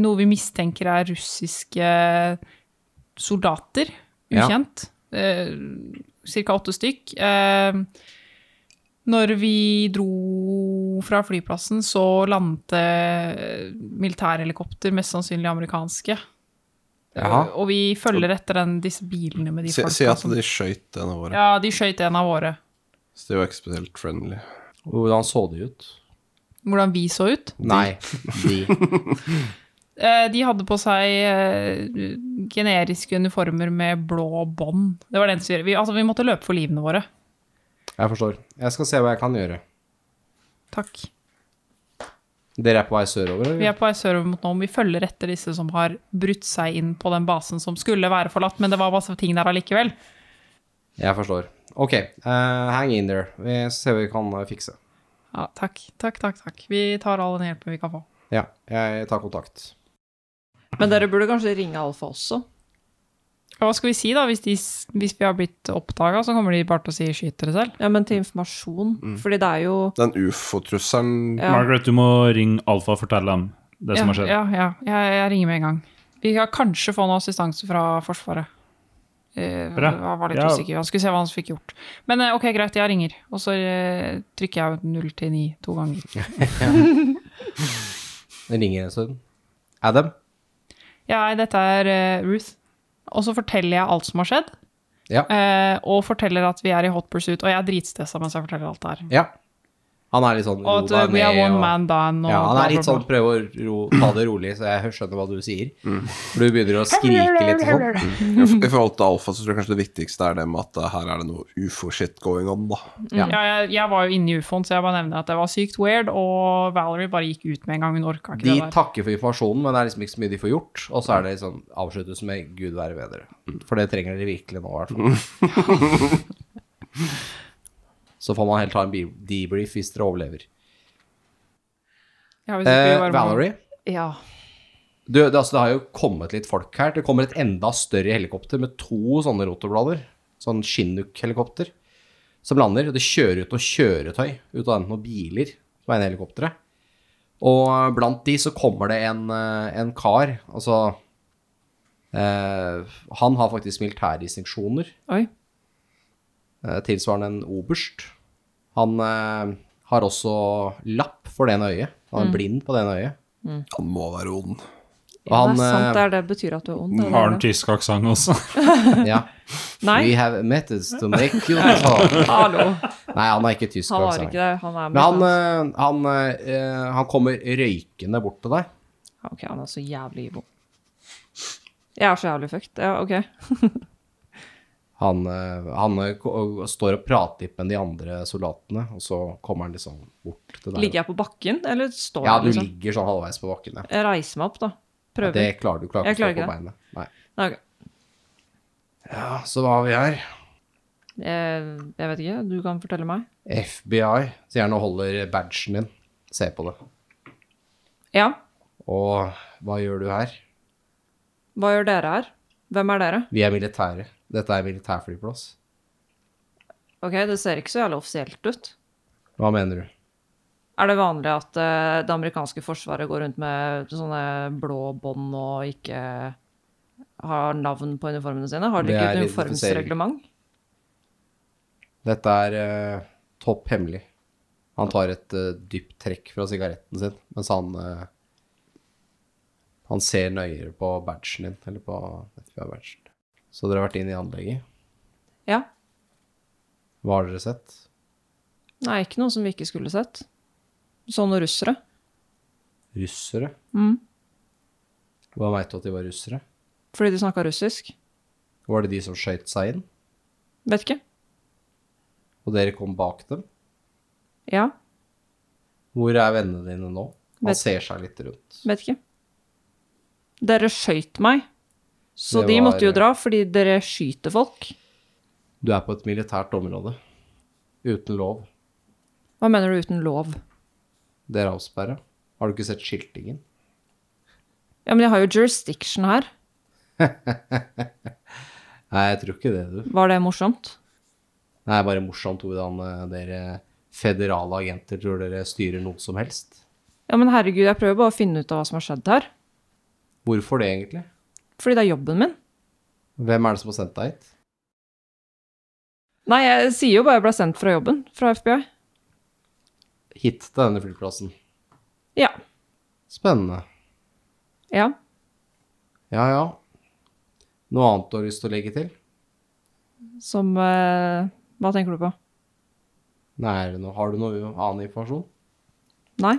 [SPEAKER 6] noe vi mistenker er russiske soldater.
[SPEAKER 2] Ja.
[SPEAKER 6] Ukjent. Eh, cirka åtte stykk. Eh, når vi dro fra flyplassen, så landet det militærhelikopter, mest sannsynlig amerikanske. Eh,
[SPEAKER 2] Jaha.
[SPEAKER 6] Og vi følger etter den, disse bilene med de
[SPEAKER 4] Si,
[SPEAKER 6] folka
[SPEAKER 4] si at
[SPEAKER 6] som
[SPEAKER 4] de skøyt en av våre.
[SPEAKER 6] Ja, de skøyt en av våre.
[SPEAKER 4] Så de var ikke spesielt friendly.
[SPEAKER 2] Hvordan så de ut?
[SPEAKER 6] Hvordan vi så ut.
[SPEAKER 2] Nei, de.
[SPEAKER 6] Eh, De hadde på seg eh, generiske uniformer med blå bånd. Det var det eneste vi gjorde. Vi, altså, vi måtte løpe for livene våre.
[SPEAKER 2] Jeg forstår. Jeg skal se hva jeg kan gjøre.
[SPEAKER 6] Takk.
[SPEAKER 2] Dere er på vei sørover?
[SPEAKER 6] Vi
[SPEAKER 2] Eller?
[SPEAKER 6] er på vei sørover mot Nome. Vi følger etter disse som har brutt seg inn på den basen som skulle være forlatt, men det var masse ting der allikevel.
[SPEAKER 2] Jeg forstår. Ok, eh, hang in there. Vi ser hva vi kan eh, fikse.
[SPEAKER 6] Ja, takk, takk, takk. takk. Vi tar all den hjelpen vi kan få.
[SPEAKER 2] Ja, jeg tar kontakt.
[SPEAKER 5] Men dere burde kanskje ringe Alfa også.
[SPEAKER 6] Og Hva skal vi si da, hvis, de, s- hvis vi har blitt oppdaga, så kommer de bare til å si 'skyt dere selv'?
[SPEAKER 5] Ja, men til informasjon. Fordi det er jo
[SPEAKER 4] Den ufo-trusselen
[SPEAKER 5] ja.
[SPEAKER 3] Margaret, du må ringe Alfa og fortelle dem det som har skjedd.
[SPEAKER 6] Ja, ja, ja. Jeg, jeg ringer med en gang. Vi kan kanskje få noe assistanse fra Forsvaret. Eh,
[SPEAKER 3] Bra.
[SPEAKER 6] Jeg var litt
[SPEAKER 3] Ja.
[SPEAKER 6] usikker. Jeg skulle se hva han fikk gjort. Men eh, ok, greit, jeg ringer. Og så eh, trykker jeg 0 til 9 to ganger.
[SPEAKER 2] Det ringer en stund. Adam?
[SPEAKER 6] Ja, dette er eh, Ruth. Og så forteller jeg alt som har skjedd.
[SPEAKER 2] Ja.
[SPEAKER 6] eh, og forteller at vi er i hot pursuit, og jeg er dritstressa mens jeg forteller alt det her.
[SPEAKER 2] Ja. Han er litt sånn
[SPEAKER 6] Og at eh, we are one man down og
[SPEAKER 2] ja, han
[SPEAKER 6] bla,
[SPEAKER 2] er litt
[SPEAKER 6] bla,
[SPEAKER 2] sånn
[SPEAKER 6] bla.
[SPEAKER 2] prøve å ro, ta det rolig, så jeg skjønner hva du sier. For du begynner å skrike litt og sånn.
[SPEAKER 4] I i forhold til alfa så tror jeg kanskje det viktigste er det med at eh, her er det noe ufo-shit going on, da.
[SPEAKER 6] Mm. Ja, jeg, jeg var jo inne i ufoen, så jeg bare nevner at det var sykt weird, og Valerie bare gikk ut med en gang. Hun orka ikke
[SPEAKER 2] De
[SPEAKER 6] det der.
[SPEAKER 2] takker for informasjonen, men det er liksom ikke så mye de får gjort. Og så er det sånn avsluttes med 'Gud være med dere'. For det trenger dere virkelig nå, i hvert fall. Så får man helt ta en be- debrief hvis dere overlever.
[SPEAKER 6] Ja, hvis ikke vi
[SPEAKER 2] Eh,
[SPEAKER 6] bare må-
[SPEAKER 2] Valerie,
[SPEAKER 5] Ja.
[SPEAKER 2] du, det, altså, det har jo kommet litt folk her. Det kommer et enda større helikopter med to sånne rotorblader. Sånn Chinook-helikopter som lander. og Det kjører ut noe kjøretøy ut av enten noen biler som er inne i helikopteret. Og eh, blant de så kommer det en, eh, en kar. Altså eh, Han har faktisk militærdistinksjoner
[SPEAKER 5] Oi.
[SPEAKER 2] eh, tilsvarende en oberst. Han eh, har også lapp for det ene øyet. Han
[SPEAKER 5] Mm.
[SPEAKER 2] er blind på det ene øyet.
[SPEAKER 4] Han må være Oden.
[SPEAKER 2] Og
[SPEAKER 5] Ja,
[SPEAKER 2] han,
[SPEAKER 5] det er sant. Det,
[SPEAKER 2] eh,
[SPEAKER 5] er det betyr at du er ond. er det
[SPEAKER 3] Har han
[SPEAKER 5] det?
[SPEAKER 3] tysk aksent også?
[SPEAKER 2] Ja. We
[SPEAKER 5] Nei,
[SPEAKER 2] have methods to make you talk.
[SPEAKER 5] hallo.
[SPEAKER 2] Nei, han er ikke tysk.
[SPEAKER 5] Han har
[SPEAKER 2] aksent.
[SPEAKER 5] ikke det. Han er
[SPEAKER 2] Men han, eh, han, eh, han kommer røykende bort til deg.
[SPEAKER 5] Ja, Ok, han er så jævlig ibo. Jeg er så jævlig fucked. Ja, ok.
[SPEAKER 2] Han, eh, han eh, ko- og står og prater litt med de andre soldatene, og så kommer han liksom bort til deg.
[SPEAKER 5] Ligger jeg på bakken, eller står
[SPEAKER 2] ja,
[SPEAKER 5] jeg
[SPEAKER 2] du
[SPEAKER 5] liksom?
[SPEAKER 2] ligger sånn halvveis på bakken. Ja.
[SPEAKER 5] Jeg reiser meg opp, da. Prøver.
[SPEAKER 2] Det klarer du klarer
[SPEAKER 5] Jeg
[SPEAKER 2] ikke å stå
[SPEAKER 5] klarer ikke
[SPEAKER 2] på
[SPEAKER 5] det.
[SPEAKER 2] beinet. Nei.
[SPEAKER 5] Nei, ok.
[SPEAKER 2] Ja, så hva har vi her?
[SPEAKER 5] jeg, jeg vet ikke. Du kan fortelle meg.
[SPEAKER 2] FBI, sier han og holder badgen din. Se på det.
[SPEAKER 5] Ja,
[SPEAKER 2] Og hva gjør du her?
[SPEAKER 5] hva gjør dere her? Hvem er dere?
[SPEAKER 2] Vi er militære. Dette er militærflyplass.
[SPEAKER 5] Ok, det ser ikke så jævlig offisielt ut.
[SPEAKER 2] Hva mener du?
[SPEAKER 5] Er det vanlig at eh, det amerikanske forsvaret går rundt med sånne blå bånd og ikke har navn på uniformene sine? Har
[SPEAKER 2] Det
[SPEAKER 5] dere ikke
[SPEAKER 2] er
[SPEAKER 5] et
[SPEAKER 2] identifisering.
[SPEAKER 5] uniformsreglement?
[SPEAKER 2] Dette er eh, topp hemmelig. Han tar et eh, dypt trekk fra sigaretten sin, mens han eh, Han ser nøyere på badgen din, eller på FBI-badgen. Så dere har vært inn i anlegget.
[SPEAKER 5] Ja.
[SPEAKER 2] Hva har dere sett?
[SPEAKER 5] Nei, ikke noe som vi ikke skulle sett. Sånne russere.
[SPEAKER 2] Russere?
[SPEAKER 5] Mm.
[SPEAKER 2] Hva veit du at de var russere?
[SPEAKER 5] Fordi de snakka russisk.
[SPEAKER 2] Var det de som skøyt seg inn,
[SPEAKER 5] Vet ikke.
[SPEAKER 2] og dere kom bak dem?
[SPEAKER 5] Ja,
[SPEAKER 2] Hvor er vennene dine nå? Han
[SPEAKER 5] Vet-
[SPEAKER 2] ser seg litt rundt.
[SPEAKER 5] vet ikke. Dere skøyt meg. Så
[SPEAKER 2] Det
[SPEAKER 5] de
[SPEAKER 2] var-
[SPEAKER 5] måtte jo dra, fordi dere skyter folk.
[SPEAKER 2] Du er på et militært område. Uten lov.
[SPEAKER 5] Hva mener du uten lov?
[SPEAKER 2] Dere er avsperra. Har du ikke sett skiltingen?
[SPEAKER 5] Ja, men jeg har jo jurisdiction her.
[SPEAKER 2] Nei, jeg tror ikke det, du.
[SPEAKER 5] Var det morsomt?
[SPEAKER 2] Det er bare morsomt hvordan eh, dere federale agenter tror dere styrer noe som helst.
[SPEAKER 5] Ja, men herregud, jeg prøver bare å finne ut av hva som har skjedd her.
[SPEAKER 2] Hvorfor det, egentlig?
[SPEAKER 5] Fordi det er jobben min.
[SPEAKER 2] Hvem er det som har sendt deg hit?
[SPEAKER 5] Nei, jeg sier jo bare jeg ble sendt fra jobben, fra FBI.
[SPEAKER 2] Hit til denne flyplassen.
[SPEAKER 5] Ja.
[SPEAKER 2] Spennende.
[SPEAKER 5] Ja.
[SPEAKER 2] Ja ja. Noe annet du har lyst til å legge til?
[SPEAKER 5] Som eh, Hva tenker du på?
[SPEAKER 2] Nei, er det noe- har du noe annen informasjon?
[SPEAKER 5] Nei?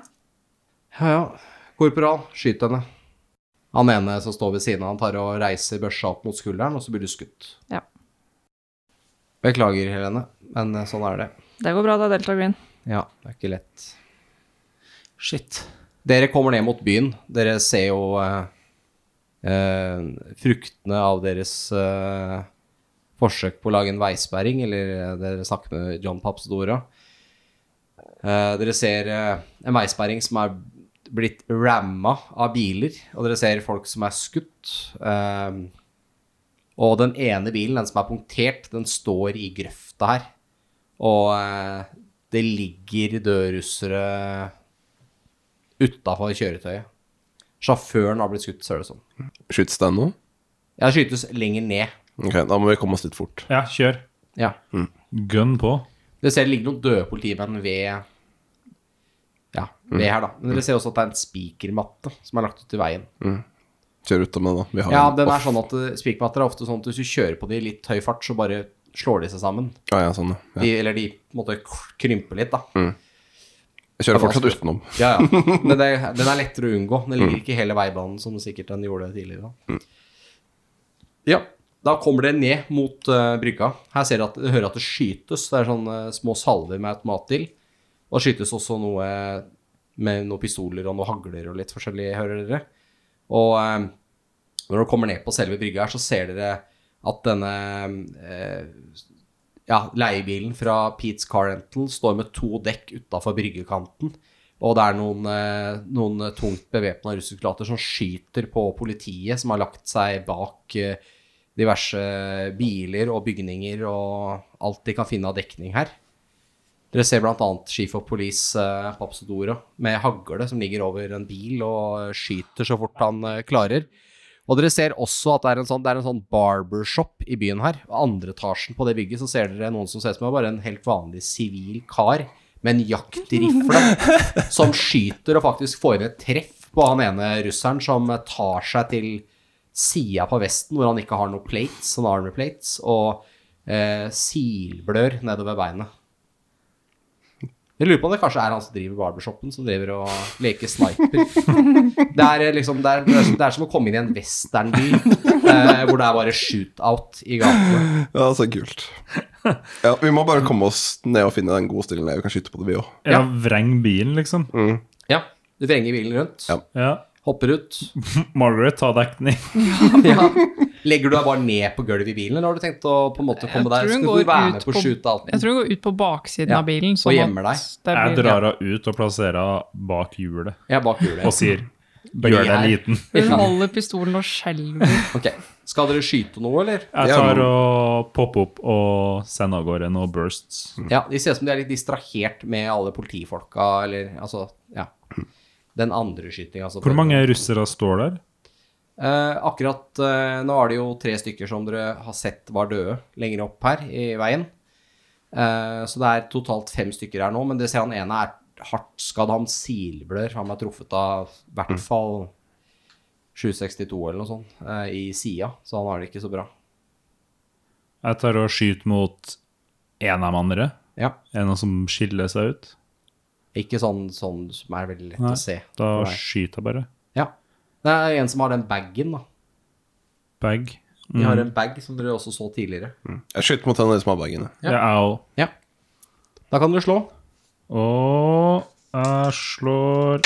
[SPEAKER 2] Ja, ja. Korporal, skyt henne. Han ene som står ved siden av han tar og reiser børsa opp mot skulderen, og så blir du skutt.
[SPEAKER 5] Ja.
[SPEAKER 2] Beklager, Helene, men eh, sånn er det.
[SPEAKER 5] Det går bra, det er Delta Green.
[SPEAKER 2] Ja, det er ikke lett. Shit. Dere kommer ned mot byen. Dere ser jo eh, eh, fruktene av deres eh, forsøk på å lage en veisperring, eller eh, dere snakker med John Papsdora. Eh, dere ser eh, en veisperring som er blitt ramma av biler, og dere ser folk som er skutt. Eh, og den ene bilen, den som er punktert, den står i grøfta her. Og eh, det ligger døde russere utafor kjøretøyet. Sjåføren har blitt skutt, ser det ut som.
[SPEAKER 4] Skyts den nå?
[SPEAKER 2] Jeg skytes lenger ned.
[SPEAKER 4] Ok, da må vi komme oss litt fort.
[SPEAKER 3] Ja, kjør.
[SPEAKER 2] Ja.
[SPEAKER 3] Gun på.
[SPEAKER 2] Dere ser det ligger noen døde politimenn ved Ja, ved her, da. Men dere ser også at det er en spikermatte som er lagt ut i veien.
[SPEAKER 4] Kjør ut av med den, da. Vi har
[SPEAKER 2] Ja,
[SPEAKER 4] en
[SPEAKER 2] den er
[SPEAKER 4] off.
[SPEAKER 2] sånn at eh, Spikmatter er ofte sånn at hvis du kjører på de i litt høy fart, så bare slår de seg sammen.
[SPEAKER 4] Ja, ja, sånn, ja.
[SPEAKER 2] De, eller de på en måte krymper litt, da.
[SPEAKER 4] Jeg kjører fortsatt utenom. Mm.
[SPEAKER 2] Ja, ja. Men det, den er lettere å unngå. Den ligger ikke hele veibanen, som sikkert den gjorde tidligere. Da. Ja, da kommer det ned mot eh, brygga. Her ser dere at, hører at det skytes. Det er sånne eh, små salver med automat til. Og det skytes også noe eh, med noen pistoler og noen hagler og litt forskjellig, hører dere. Og eh, når dere kommer ned på selve brygga her, så ser dere at denne eh, ja, leiebilen fra Pete's Car Rental står med to dekk utafor bryggekanten. Og det er noen, eh, noen tungt bevæpna russersoldater som skyter på politiet, som har lagt seg bak eh, diverse biler og bygninger og alt de kan finne av dekning her. Dere ser bl.a. Chief of Police eh, Papsodoro med hagle som ligger over en bil og eh, skyter så fort han eh, klarer. Og dere ser også at det er en sånn, det er en sånn barbershop i byen her. Og andre etasjen på det bygget så ser dere noen som ser ut som er bare en helt vanlig sivil kar med en jaktrifle som skyter og faktisk får inn et treff på han ene russeren som eh, tar seg til sida på vesten hvor han ikke har noen plates, sånn armor plates, og eh, silblør nedover beinet. Jeg lurer på om det kanskje er han som driver barbershoppen, som driver og leker sniper. Det er, eh, liksom, det er, det er, som- det er som å komme inn i en westernby eh, hvor det er bare shootout i gatene.
[SPEAKER 4] Ja, så kult. Ja, vi må bare komme oss ned og finne den gode stillingen der vi kan skyte på det, vi òg.
[SPEAKER 3] Ja, vreng bilen, liksom.
[SPEAKER 2] Ja, du vrenger bilen rundt,
[SPEAKER 4] Ja.
[SPEAKER 3] Ja.
[SPEAKER 2] hopper ut.
[SPEAKER 3] Margaret, ta dekning.
[SPEAKER 2] Ja. Legger du deg bare ned på gulvet i bilen, eller har du tenkt å på en måte komme
[SPEAKER 6] tror
[SPEAKER 2] deg?
[SPEAKER 6] hun
[SPEAKER 2] Skal
[SPEAKER 6] går
[SPEAKER 2] du være med
[SPEAKER 6] ut
[SPEAKER 2] på
[SPEAKER 6] på- Jeg
[SPEAKER 2] shootouten?
[SPEAKER 6] tror hun går ut på baksiden
[SPEAKER 2] Ja,
[SPEAKER 6] av bilen. sånn
[SPEAKER 2] og gjemmer deg.
[SPEAKER 3] Jeg
[SPEAKER 6] blir-
[SPEAKER 3] drar henne ut og plasserer henne bak hjulet
[SPEAKER 2] Jeg er bak
[SPEAKER 3] og
[SPEAKER 2] hjulet.
[SPEAKER 3] sier 'gjør deg
[SPEAKER 2] her.
[SPEAKER 3] liten'.
[SPEAKER 6] ja. Hun holder pistolen og skjelver.
[SPEAKER 2] Ok, Skal dere skyte noe, eller?
[SPEAKER 3] Jeg
[SPEAKER 4] Ja,
[SPEAKER 3] tar
[SPEAKER 4] men-
[SPEAKER 3] og popper opp og sender av gårde noen bursts.
[SPEAKER 2] Ja, De ser ut som de er litt distrahert med alle politifolka, eller altså Ja. Den andre skytinga. Altså,
[SPEAKER 3] Hvor mange russere står der?
[SPEAKER 2] Eh, akkurat eh, nå er det jo tre stykker som dere har sett var døde lenger opp her i veien. Eh, så det er totalt fem stykker her nå, men det ser han ene er hardt skadd. Han silblør. Han ble truffet av i hvert fall 762 eller noe sånt eh, i sida, så han har det ikke så bra.
[SPEAKER 3] Jeg tar og skyter mot en av de andre.
[SPEAKER 2] Ja,
[SPEAKER 3] Er det noen som skiller seg ut?
[SPEAKER 2] Ikke sånn, sånn som er veldig lett
[SPEAKER 3] Nei,
[SPEAKER 2] å se. for
[SPEAKER 3] Da
[SPEAKER 2] deg.
[SPEAKER 3] skyter jeg bare.
[SPEAKER 2] ja. Det er en som har den bagen, da.
[SPEAKER 3] Bag.
[SPEAKER 2] De har en bag som dere også så tidligere.
[SPEAKER 4] Jeg skyter mot den der som har bagen. jeg.
[SPEAKER 3] Jeg er òg.
[SPEAKER 2] Ja. Da kan dere slå.
[SPEAKER 3] Og jeg slår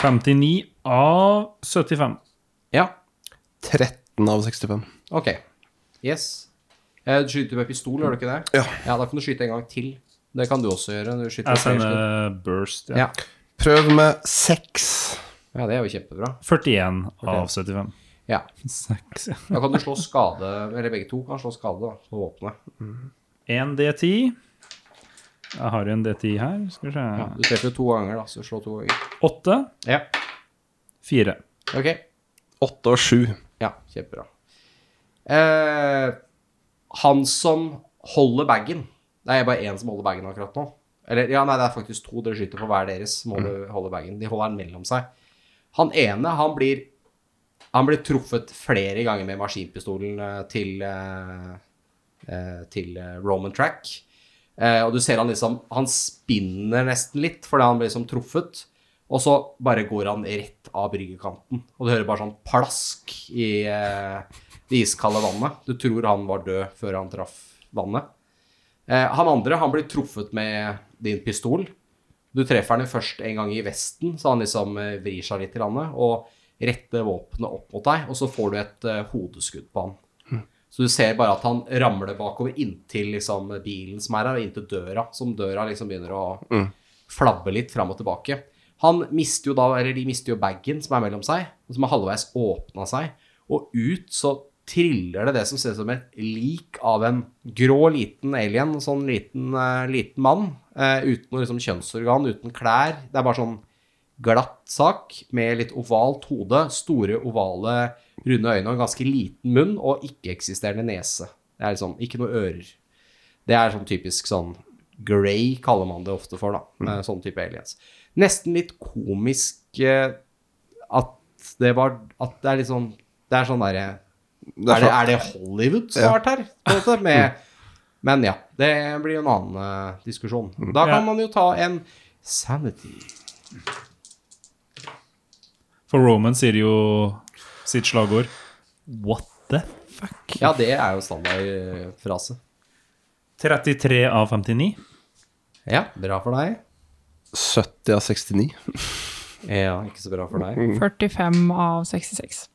[SPEAKER 3] 59 av 75.
[SPEAKER 2] Ja.
[SPEAKER 4] 13 av 65.
[SPEAKER 2] Ok. Yes. Eh, Du skyter med pistol, gjør du ikke det?
[SPEAKER 4] Ja.
[SPEAKER 2] Da kan du skyte en gang til. Det kan du også gjøre. Du skyter
[SPEAKER 3] Jeg
[SPEAKER 2] med flere skudd.
[SPEAKER 3] sender burst.
[SPEAKER 2] ja.
[SPEAKER 3] Ja.
[SPEAKER 4] Prøv med 6.
[SPEAKER 2] ja, det er jo kjempebra.
[SPEAKER 3] 41 av 75.
[SPEAKER 2] Ja.
[SPEAKER 3] Seks, ja.
[SPEAKER 2] Da kan du slå skade, eller begge to kan slå skade da, på våpenet.
[SPEAKER 3] 1 D10. Jeg har jo en D10 her. Skal vi se
[SPEAKER 2] Du treffer jo to ganger, da, så slå to ganger.
[SPEAKER 3] 8,
[SPEAKER 2] Ja,
[SPEAKER 3] 4.
[SPEAKER 2] ok.
[SPEAKER 4] 8 og 7.
[SPEAKER 2] Ja, kjempebra. Eh, han som holder bagen Det er bare én som holder bagen akkurat nå. Eller, ja, nei, det er faktisk to dere skyter på hver deres som holder, holder bagen. De holder den mellom seg. Han ene, han blir Han blir truffet flere ganger med maskinpistolen eh, til eh, eh, til eh, Roman Track. Eh, og du ser han liksom Han spinner nesten litt fordi han blir liksom truffet. Og så bare går han rett av bryggekanten. Og du hører bare sånn plask i eh, det iskalde vannet. Du tror han var død før han traff vannet. Eh, han andre han blir truffet med din pistol. Du treffer han jo først en gang i vesten, så han liksom eh, vrir seg litt, grann, og retter våpenet opp mot deg. Og så får du et eh, hodeskudd på han. Så du ser bare at han ramler bakover inntil liksom, bilen som er her, og inntil døra, som døra liksom begynner å flabbe litt fram og tilbake. Han mister jo da, eller De mister jo bagen som er mellom seg, og som har halvveis åpna seg. Og ut så triller det det som ser ut som et lik av en grå, liten alien. en Sånn liten, eh, liten mann. eh, uten noe liksom, kjønnsorgan, uten klær. Det er bare sånn glatt sak med litt ovalt hode, store ovale runde øyne og en ganske liten munn og ikke-eksisterende nese. Det er liksom ikke noe ører. Det er sånn typisk sånn grey kaller man det Mm. ofte for, da. eh, Sånn type aliens. Nesten litt komisk eh, at litt Det var at det er litt sånn Det er sånn derre er,
[SPEAKER 4] er
[SPEAKER 2] Mm. det- er det Hollywood som har vært her? På en måte, med, men ja, det blir jo en annen eh, diskusjon. Da
[SPEAKER 3] Ja.
[SPEAKER 2] kan man jo ta en sanity.
[SPEAKER 3] For Roman sier jo sitt slagord What the fuck?
[SPEAKER 2] Ja, det er jo eh, standardfrase.
[SPEAKER 3] 33 av 59.
[SPEAKER 2] Ja, bra for deg.
[SPEAKER 4] 70 av 69.
[SPEAKER 2] Ja, ikke så bra for deg.
[SPEAKER 6] 45 av 66.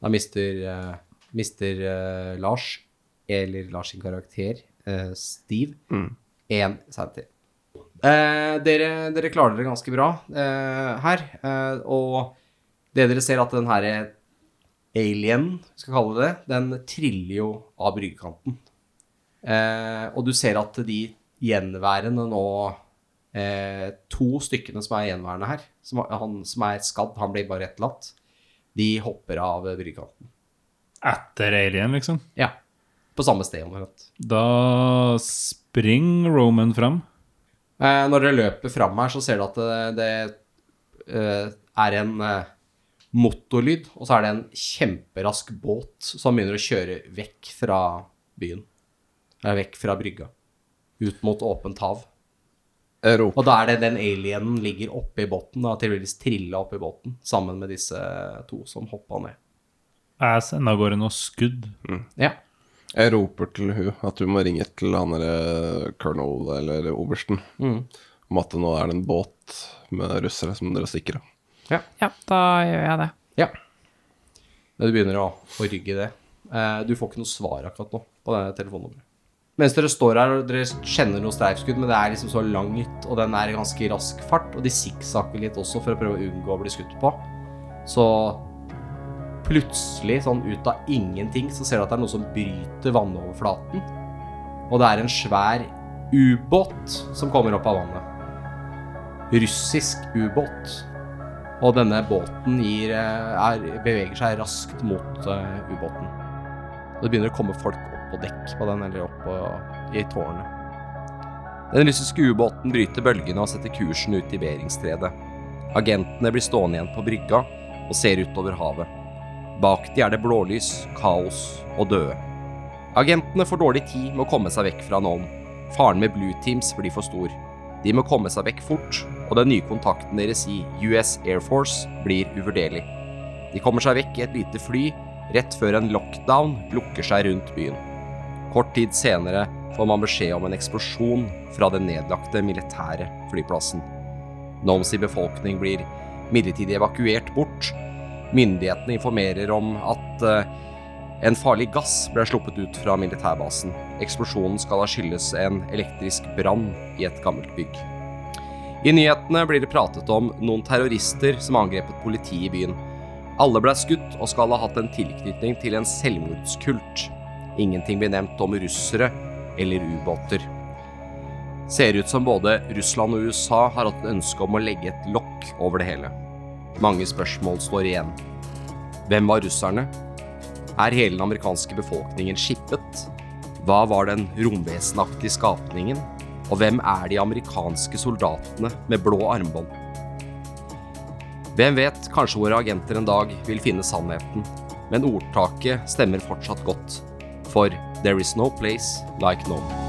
[SPEAKER 2] Da mister, eh, mister eh, Lars, eller Lars sin karakter, eh, Steve, én sanity. Eh, dere, dere klarer dere ganske bra eh, her. eh, og det dere ser at den her alien, skal kalle det det, den triller jo av bryggekanten. Eh, og du ser at de gjenværende nå eh, To stykkene som er gjenværende her, som, han som er skadd, han blir bare etterlatt, de hopper av bryggekanten.
[SPEAKER 3] Etter Alien, liksom.
[SPEAKER 2] Ja. På samme sted, omtrent.
[SPEAKER 3] Da springer Roman fram.
[SPEAKER 2] Eh, når dere løper fram her, så ser du at det, det eh, er en eh, motorlyd, og så er det en kjemperask båt som begynner å kjøre vekk fra byen. Eller vekk fra brygga. Ut mot åpent hav.
[SPEAKER 4] Jeg roper
[SPEAKER 2] Og da er det den alienen ligger oppe i båten, da, tilfeldigvis trilla oppe i båten, sammen med disse to som hoppa ned.
[SPEAKER 3] Jeg sender av gårde noe skudd.
[SPEAKER 2] Ja.
[SPEAKER 4] Jeg roper til hun at hun må ringe til han derre colonel eller obersten om at nå er det en båt med russere som dere stikker av.
[SPEAKER 6] Ja, da gjør jeg det.
[SPEAKER 2] ja. Men du begynner å, å rygge det. Eh, du får ikke noe svar akkurat nå på det telefonnummeret. Mens dere står her og dere kjenner noe streifskudd, men det er liksom så langt, og den er i ganske rask fart, og de sikksakker litt også for å prøve å unngå å bli skutt på. Så plutselig, sånn ut av ingenting, så ser du at det er noe som bryter vannoverflaten. Og det er en svær ubåt som kommer opp av vannet. Russisk ubåt. Og denne båten gir, eh, er, beveger seg raskt mot eh, ubåten. Og det begynner å komme folk opp på dekk på den, eller opp på, i tårnet. Den russiske ubåten bryter bølgene og setter kursen ut i Beringstredet. Agentene blir stående igjen på brygga og ser utover havet. Bak de er det blålys, kaos og døde. Agentene får dårlig tid med å komme seg vekk fra noen. Faren med Blue Teams blir for stor. De må komme seg vekk fort, og den nye kontakten deres i US Air Force blir uvurderlig. De kommer seg vekk i et lite fly rett før en lockdown lukker seg rundt byen. Kort tid senere får man beskjed om en eksplosjon fra den nedlagte militære flyplassen. Noms i befolkning blir midlertidig evakuert bort. Myndighetene informerer om at eh, en farlig gass ble sluppet ut fra militærbasen. Eksplosjonen skal ha skyldes en elektrisk brann i et gammelt bygg. I nyhetene blir det pratet om noen terrorister som har angrepet politiet i byen. Alle ble skutt og skal ha hatt en tilknytning til en selvmordskult. Ingenting blir nevnt om russere eller ubåter. Ser ut som både Russland og USA har hatt et ønske om å legge et lokk over det hele. Mange spørsmål står igjen. Hvem var russerne? Er hele den amerikanske befolkningen skippet? Hva var den romvesenaktige skapningen? Og hvem er de amerikanske soldatene med blå armbånd? Hvem vet, kanskje våre agenter en dag vil finne sannheten. Men ordtaket stemmer fortsatt godt. For there is no place like Nome.